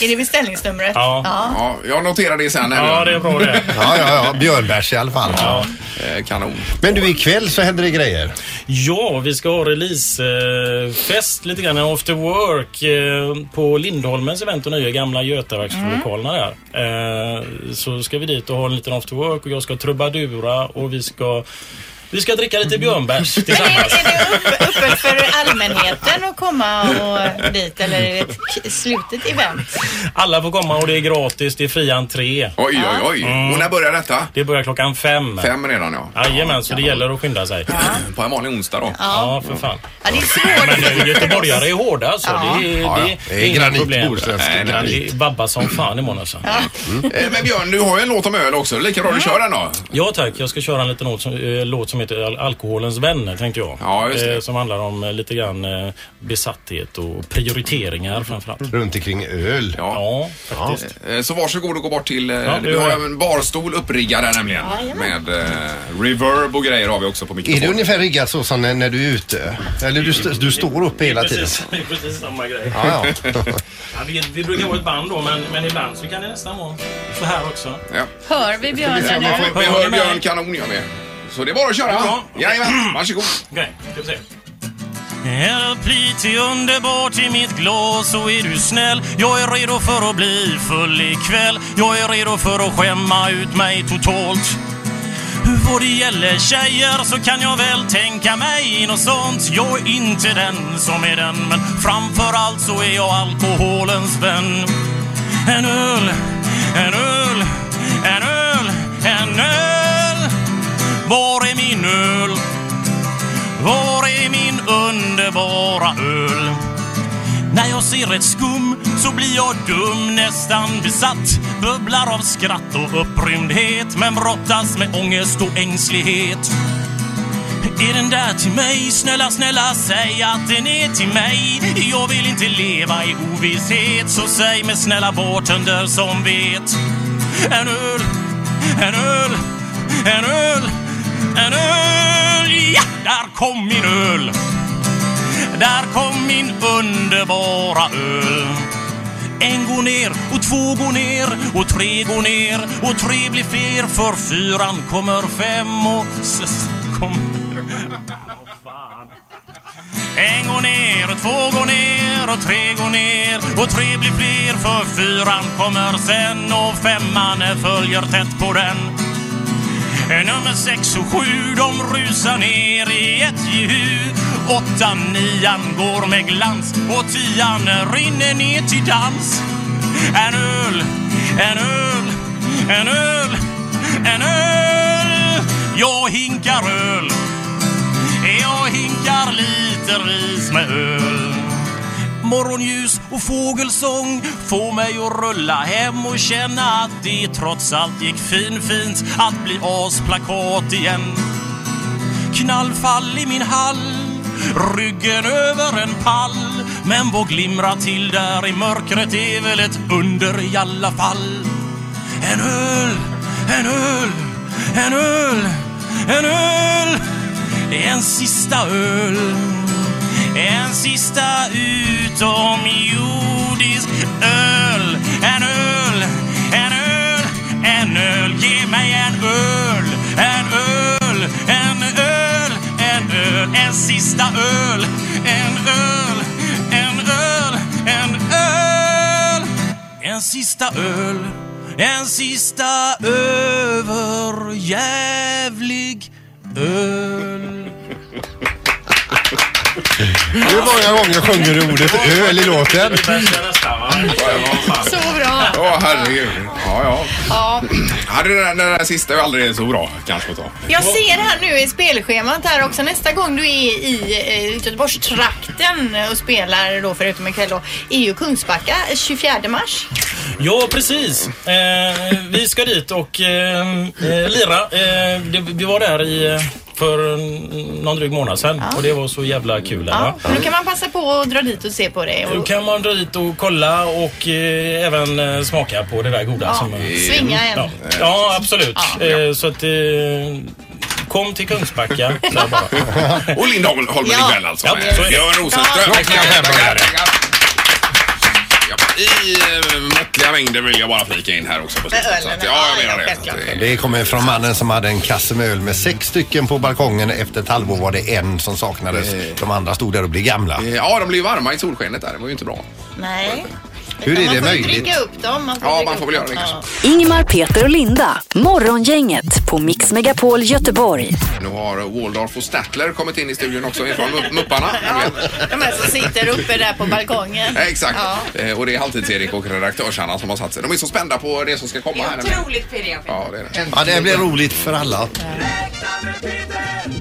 Speaker 3: Är det beställningsnumret?
Speaker 14: Ja.
Speaker 2: Ja, jag noterar det sen.
Speaker 14: Ja, det är bra det.
Speaker 4: Ja, ja, ja. Björnbärs i alla fall.
Speaker 2: Eh, Kanon.
Speaker 4: Men du, ikväll så händer det grejer.
Speaker 14: Ja, vi ska ha releasefest lite grann, en after work eh, på Lindholmens event och nya gamla Götaverkslokalerna där. Eh, Så ska vi dit och ha en liten after work och jag ska trubadura och vi ska vi ska dricka lite björnbärs tillsammans.
Speaker 3: Öppet för allmänheten att komma och dit eller är det ett k- slutet event?
Speaker 14: Alla får komma och det är gratis, det är fri entré. Oj,
Speaker 2: oj, oj. Och när börjar detta?
Speaker 14: Mm. Det börjar klockan fem.
Speaker 2: Fem redan ja.
Speaker 14: Jajamän, så det gäller att skynda sig.
Speaker 2: *clears throat* På en vanlig onsdag då.
Speaker 14: Ja, för fan.
Speaker 3: Ja, det är svårt.
Speaker 14: Men nu, göteborgare är hårda alltså.
Speaker 3: Ja.
Speaker 14: Det, är-
Speaker 2: Ja, ja.
Speaker 14: det,
Speaker 2: Det är
Speaker 14: är inga
Speaker 2: granit,
Speaker 14: problem.
Speaker 2: bohuslänsk
Speaker 14: Nej, nej,
Speaker 2: granit.
Speaker 14: Det babbar som fan imorgon alltså.
Speaker 2: Eh, Men Björn, du har ju en låt om öl också. Lika bra du kör den då.
Speaker 14: Ja tack, jag ska köra en liten låt som, eh, låt som heter Al- Alkoholens vänner tänkte jag.
Speaker 2: Ja, just det.
Speaker 14: som handlar om eh, lite grann eh, besatthet och prioriteringar framförallt.
Speaker 4: Runt omkring öl.
Speaker 14: Ja, faktiskt.
Speaker 2: Eh, Så varsågod och gå bort till... eh,
Speaker 14: det
Speaker 2: vi
Speaker 14: gör
Speaker 2: har
Speaker 14: jag.
Speaker 2: en barstol uppriggad här nämligen. Med eh, reverb och grejer har vi också på
Speaker 4: Är det
Speaker 2: mikrofonen.
Speaker 4: ungefär riggat så som när när du är ute? Eller du, st- du står upp hela tiden?
Speaker 14: Precis, det är precis samma grej.
Speaker 4: Ja, ja.
Speaker 14: Ja, vi, vi brukar vara ett band då, men, men ibland så kan det nästan vara så här också.
Speaker 2: Ja.
Speaker 3: Hör vi björnen
Speaker 2: Ja,
Speaker 3: nu?
Speaker 2: vi hör Björn Kanon gör vi. Så det är bara att köra.
Speaker 14: Ja.
Speaker 2: Jajamän, varsågod.
Speaker 14: Okej, ska vi se. Häll plit i underbart i mitt glas så är du snäll Jag är redo för att bli full ikväll Jag är redo för att skämma ut mig totalt Vad det gäller tjejer så kan jag väl tänka mig något sånt Jag är inte den som är den men framförallt så är jag alkoholens vän En öl, en öl, en öl, en öl Var är min öl? Var är min underbara öl? När jag ser ett skum så blir jag dum, nästan besatt. Bubblar av skratt och upprymdhet men brottas med ångest och ängslighet.
Speaker 6: Är den där till mig? Snälla, snälla säg att den är till mig. Jag vill inte leva i ovisshet, så säg mig snälla bartender som vet. En öl, en öl, en öl, en öl. Ja, där kom min öl. Där kom min underbara öl. En går ner och två går ner och tre går ner och tre blir fler för fyran kommer fem och s- kommer... En går ner och två går ner och tre går ner och tre blir fler för fyran kommer sen och femman följer tätt på den. Eh, Nummer sex och sju de rusar ner i ett ju. Åttan, nian går med glans och tian rinner ner till dans. En öl, en öl, en öl, en öl. Jag hinkar öl. Jag hinkar lite ris med öl. Morgonljus och fågelsång får mig att rulla hem och känna att det trots allt gick finfint att bli asplakat igen. Knallfall i min hall, ryggen över en pall. Men vad glimrar till där i mörkret är väl ett under i alla fall. En öl, en öl, en öl, en öl, en sista öl. En sista utomjordisk öl. En öl, en öl, en öl. Ge mig en öl, en öl, en öl, en öl. En sista öl, en öl, en öl, en öl. En sista öl, en sista överjävlig öl.
Speaker 4: Hur många gånger sjunger du ordet öl i låten?
Speaker 3: Så bra.
Speaker 2: Ja, herregud. Ja, ja.
Speaker 3: Ja.
Speaker 2: ja det, där, det där sista är aldrig så bra kanske att ta.
Speaker 3: Jag ser här nu i spelschemat här också nästa gång du är i eh, Göteborgstrakten och spelar då förutom ikväll då är ju Kungsbacka 24 mars.
Speaker 14: Ja, precis. Eh, vi ska dit och eh, eh, lira. Eh, det, vi var där i, eh, för mm, någon dryg månad sedan och det var så jävla kul. där, va?
Speaker 3: Nu kan man passa på att dra dit och se på det.
Speaker 14: Då
Speaker 3: Och
Speaker 14: kan man dra dit och kolla och eh, även eh, smaka på det där goda.
Speaker 3: Ja, Mm.
Speaker 14: som,
Speaker 3: svinga en.
Speaker 14: Ja, ja absolut. Eh, så att, eh, kom till Kungsbacka. Så jag bara.
Speaker 2: Och Lindholmen
Speaker 14: Ja.
Speaker 2: ikväll alltså.
Speaker 14: Ja,
Speaker 2: med
Speaker 14: så är det.
Speaker 2: Björn Rosenström.
Speaker 14: Ja, klockan fem på kvällen.
Speaker 2: Ja, I eh, måttliga mängder vill jag bara flika in här också. På
Speaker 3: Med
Speaker 2: slutet, så
Speaker 3: ölen,
Speaker 2: att- ja, jag
Speaker 3: ja,
Speaker 2: menar det.
Speaker 3: självklart.
Speaker 2: Så att det-
Speaker 4: Det kommer från mannen som hade en kasse med öl med sex stycken på balkongen. Efter ett halvår var det en som saknades. De andra stod där och blev gamla.
Speaker 2: Ja, de blev varma i solskenet där. Det var ju inte bra.
Speaker 3: Nej.
Speaker 4: Hur
Speaker 3: Utan
Speaker 4: är det
Speaker 3: man får ju
Speaker 4: möjligt?
Speaker 3: dricka upp dem. Man får
Speaker 2: Ja,
Speaker 3: dricka
Speaker 2: man får
Speaker 3: upp
Speaker 2: väl
Speaker 3: dem.
Speaker 2: göra det
Speaker 3: Ja.
Speaker 5: Ingmar, Peter och Linda. Morgongänget på Mix Megapol Göteborg.
Speaker 2: Nu har Waldorf och Statler kommit in i studion också ifrån Mupp- Mupparna. ni vet.
Speaker 3: De här som sitter uppe där på balkongen.
Speaker 2: Eh, Exakt.
Speaker 3: Ja.
Speaker 2: Eh, Och det är Halvtids-Erik och redaktörs-Hanna som har satt sig. De är så spända på det som ska komma. här.
Speaker 3: Otroligt pirriga.
Speaker 2: Ja, det är det.
Speaker 4: Ja, det blir roligt för alla.
Speaker 16: Nu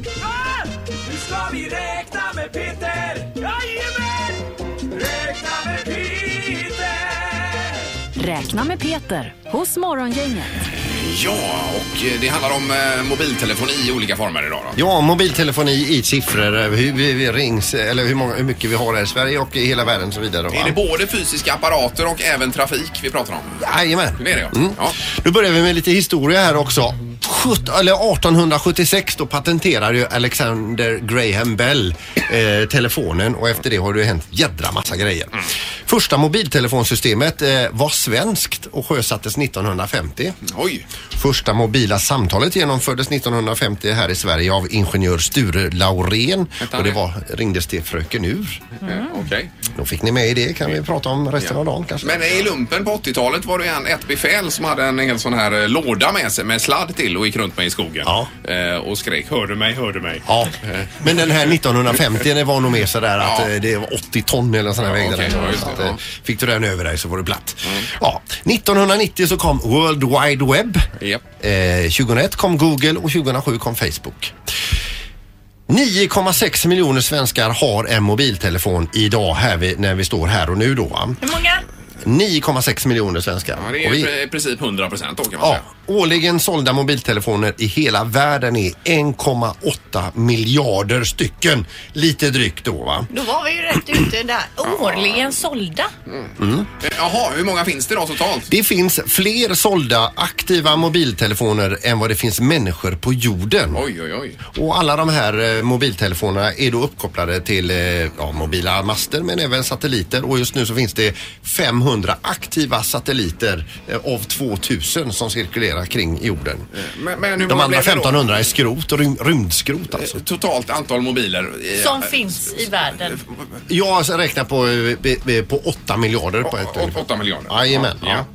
Speaker 16: ska vi räkna med Peter! Jajamän! Räkna med Peter!
Speaker 5: Räkna med Peter hos Morgongänget.
Speaker 2: Ja, och eh, det handlar om eh, mobiltelefoni i olika former idag då.
Speaker 4: Ja, mobiltelefoni i siffror. Hur vi vi rings, eller hur, många, hur mycket vi har här i Sverige och i hela världen och så vidare.
Speaker 2: Är det både fysiska apparater och även trafik vi pratar om?
Speaker 4: Jajamän.
Speaker 2: Det är det, ja.
Speaker 4: Mm.
Speaker 2: ja.
Speaker 4: Nu börjar vi med lite historia här också. 17, eller 1876 då patenterar ju Alexander Graham Bell eh, telefonen och efter det har det ju hänt jädra massa grejer.
Speaker 2: Mm.
Speaker 4: Första mobiltelefonsystemet eh, var svenskt och sjösattes 1950.
Speaker 2: Oj.
Speaker 4: Första mobila samtalet genomfördes 1950 här i Sverige av ingenjör Sture Laurén och det var, ringdes till Fröken Ur.
Speaker 2: Eh, Okej.
Speaker 4: Då fick ni med i det kan vi prata om resten av dagen kanske.
Speaker 2: Men i lumpen på 80-talet var det en, ett befäl som hade en hel sån här eh, låda med sig med sladd till och gick runt med i skogen. Eh, och skrek hör du mig, hör du mig.
Speaker 4: Ja, men den här 1950 det var nog mer sådär att eh, det var 80 ton eller sådär vägde
Speaker 2: okej,
Speaker 4: den.
Speaker 2: ja, just
Speaker 4: Så
Speaker 2: det,
Speaker 4: att,
Speaker 2: ja. Mm.
Speaker 4: eh, Fick du den över dig så var det platt. Ja, 1990 så kom World Wide Web. Eh, 2001 kom Google och 2007 kom Facebook. 9,6 miljoner svenskar har en mobiltelefon idag här vi, när vi står här och nu då. va?
Speaker 3: Hur många?
Speaker 4: 9,6 miljoner svenskar.
Speaker 2: Ja, det är
Speaker 4: Och
Speaker 2: ju
Speaker 4: vi-
Speaker 2: i princip 100 procent då kan man
Speaker 4: Ja,
Speaker 2: säga.
Speaker 4: Årligen sålda mobiltelefoner i hela världen är 1,8 miljarder stycken. Lite drygt då va?
Speaker 3: Då var vi ju rätt ute där. Årligen sålda.
Speaker 4: Mm.
Speaker 2: Jaha, hur många finns det då totalt?
Speaker 4: Det finns fler sålda aktiva mobiltelefoner än vad det finns människor på jorden.
Speaker 2: Oj, oj, oj.
Speaker 4: Och alla de här eh, mobiltelefonerna är då uppkopplade till eh, ja, mobila master men även satelliter och just nu så finns det 500 aktiva satelliter eh, av 2000 som cirkulerar kring jorden.
Speaker 2: Eh, Men, men hur
Speaker 4: de
Speaker 2: många
Speaker 4: andra
Speaker 2: blev det då?
Speaker 4: 1500 är skrot, och rym- rymdskrot alltså.
Speaker 2: Totalt antal mobiler. eh,
Speaker 3: Som finns i världen.
Speaker 4: Jag räknar på, eh, be- be- på 8 miljarder. På ett,
Speaker 2: 8 miljarder?
Speaker 4: Jajamän. Ja.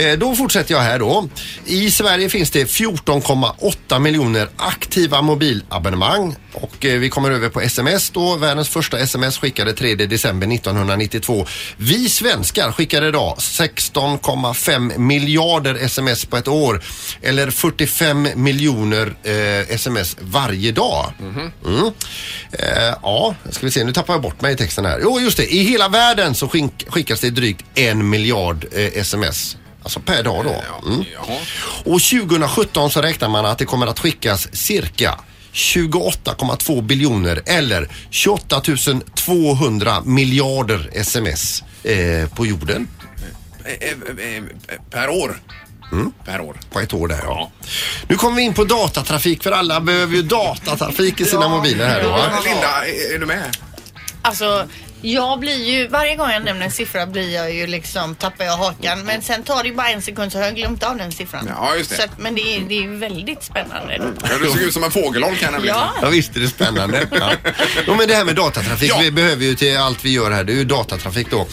Speaker 4: Eh, Då fortsätter jag här då. I Sverige finns det 14,8 miljoner aktiva mobilabonnemang och eh, vi kommer över på sms då. Världens första sms skickade 3 december 1992. Vi svenskar skickar idag 16,5 miljarder sms på ett år eller 45 miljoner eh, sms varje dag. Mm. Eh, ja, ska vi se. Nu tappar jag bort mig i texten här. Jo, just det. I hela världen så skink- skickas det drygt en miljard eh, sms. Alltså per dag då. Mm. Och 2017 så räknar man att det kommer att skickas cirka 28,2 biljoner eller 28 200 miljarder sms eh, på jorden.
Speaker 2: eh, eh, eh, Per år.
Speaker 4: Mm.
Speaker 2: Per år.
Speaker 4: På ett år där ja. Nu kommer vi in på datatrafik för alla behöver ju datatrafik i sina mobiler här då. va?
Speaker 2: Men Linda, eh, är, är du med?
Speaker 3: Alltså, jag blir ju, varje gång jag nämner en siffra blir jag ju liksom, tappar jag hakan. Men sen tar det bara en sekund så har jag glömt av den siffran.
Speaker 2: Ja, just det. Mm.
Speaker 3: Så att, men det är, det är ju väldigt spännande.
Speaker 2: Ja, du såg ut som en fågelholk här nämligen.
Speaker 3: Ja.
Speaker 4: Ja visst är det spännande. *laughs* Ja. Jo, men det här med datatrafik, vi behöver ju till allt vi gör här, det är ju datatrafik då.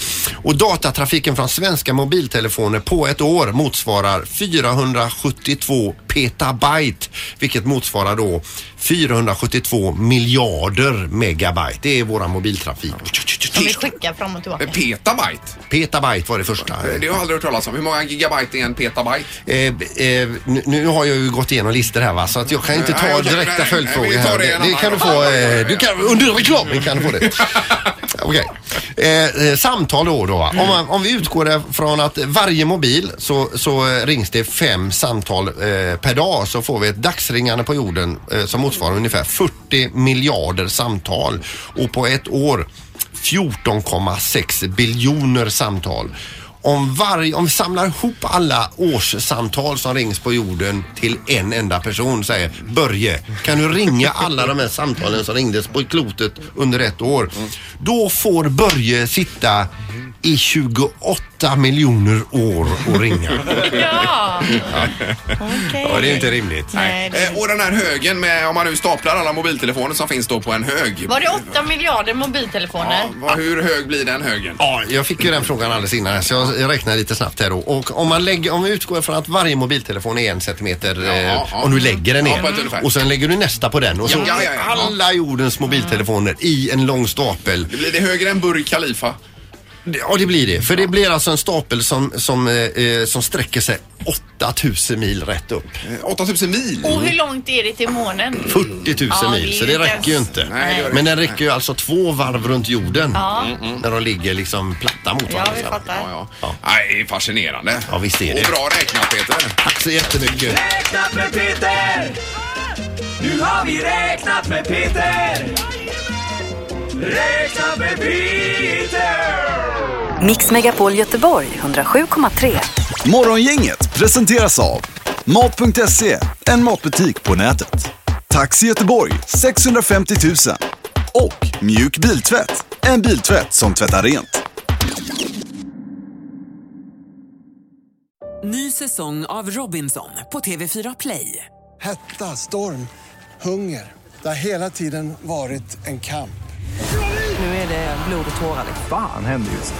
Speaker 4: Och datatrafiken från svenska mobiltelefoner på ett år motsvarar 472 petabyte, vilket motsvarar då 472 miljarder megabyte. Det är våran mobiltrafik.
Speaker 3: Som vi skickar fram och tillbaka.
Speaker 2: Eh, Petabyte? Eh,
Speaker 4: Petabyte var det första.
Speaker 2: Det har jag aldrig hört talas om. Hur många gigabyte är en petabyte?
Speaker 4: Eh, eh, nu, nu har jag ju gått igenom listor här va, så att jag kan inte ta
Speaker 2: Nej, okej, nej,
Speaker 4: direkta
Speaker 2: nej,
Speaker 4: följdfrågor
Speaker 2: vi tar
Speaker 4: här.
Speaker 2: det en
Speaker 4: Det, det
Speaker 2: annan
Speaker 4: kan du
Speaker 2: gång.
Speaker 4: få, eh, du kan, under reklamen
Speaker 2: Mm.
Speaker 4: kan du få det. Okej. Eh, eh, samtal då. då va? Om, man, om vi utgår från att varje mobil så, så eh, rings det fem samtal eh, per dag så får vi ett dagsringande på jorden eh, som motsvarar ungefär 40 miljarder samtal och på ett år 14,6 biljoner samtal. Om, varje, om vi samlar ihop alla årssamtal som rings på jorden till en enda person säger Börje, kan du ringa alla de här samtalen som ringdes på klotet under ett år? Då får Börje sitta i 28 miljoner år och ringa.
Speaker 3: *laughs* Ja.
Speaker 4: Ja. Ja, det är inte rimligt.
Speaker 3: Nej, det är
Speaker 2: Eh, Och den här högen med, om man nu staplar alla mobiltelefoner som finns då på en hög.
Speaker 3: Var det 8 miljarder mobiltelefoner?
Speaker 2: Vad- Hur hög blir den högen?
Speaker 4: Ja, jag fick ju den frågan alldeles innan här, så jag jag räknar lite snabbt här då. Och om man lägger, om vi utgår från att varje mobiltelefon är en centimeter
Speaker 2: ja,
Speaker 4: eh, och du lägger den
Speaker 2: Ja,
Speaker 4: ner.
Speaker 2: på ett ungefär.
Speaker 4: och sen lägger du nästa på den och så
Speaker 2: Ja, ja, Mm. ja, ja.
Speaker 4: alla jordens mobiltelefoner i en lång stapel.
Speaker 2: Blir det högre än Burj Khalifa?
Speaker 4: Ja, det blir det. För det blir alltså en stapel som, som, eh, eh, som sträcker sig 8000 mil rätt upp.
Speaker 2: Mm. Eh, 8000 mil?
Speaker 3: Och hur långt är det till månen?
Speaker 4: 40 000
Speaker 3: Ja, det
Speaker 4: mil,
Speaker 3: är
Speaker 4: så det
Speaker 3: inte
Speaker 4: räcker ju
Speaker 3: ens-
Speaker 4: inte.
Speaker 3: Nej, det gör det
Speaker 4: Men
Speaker 3: inte.
Speaker 4: den räcker ju alltså två varv runt jorden.
Speaker 3: Ja.
Speaker 4: När de ligger liksom platta mot varandra.
Speaker 3: vi fattar.
Speaker 2: Ja, ja. Nej, fascinerande.
Speaker 4: Ja, visst är det.
Speaker 2: Och bra räknat Peter.
Speaker 4: Tack så jättemycket.
Speaker 13: Räknat med Peter! Nu har vi räknat med Peter! Räknat med Peter!
Speaker 5: Mix Megapol Göteborg 107,3.
Speaker 1: Morgongänget presenteras av Mat.se, en matbutik på nätet. Taxi Göteborg 650 000 och Mjuk Biltvätt, en biltvätt som tvättar rent.
Speaker 17: Ny säsong av Robinson på TV4 Play.
Speaker 18: Hetta, storm, hunger. Det har hela tiden varit en kamp.
Speaker 17: Nu är det blod och tårar. liksom.
Speaker 19: Fan händer just det.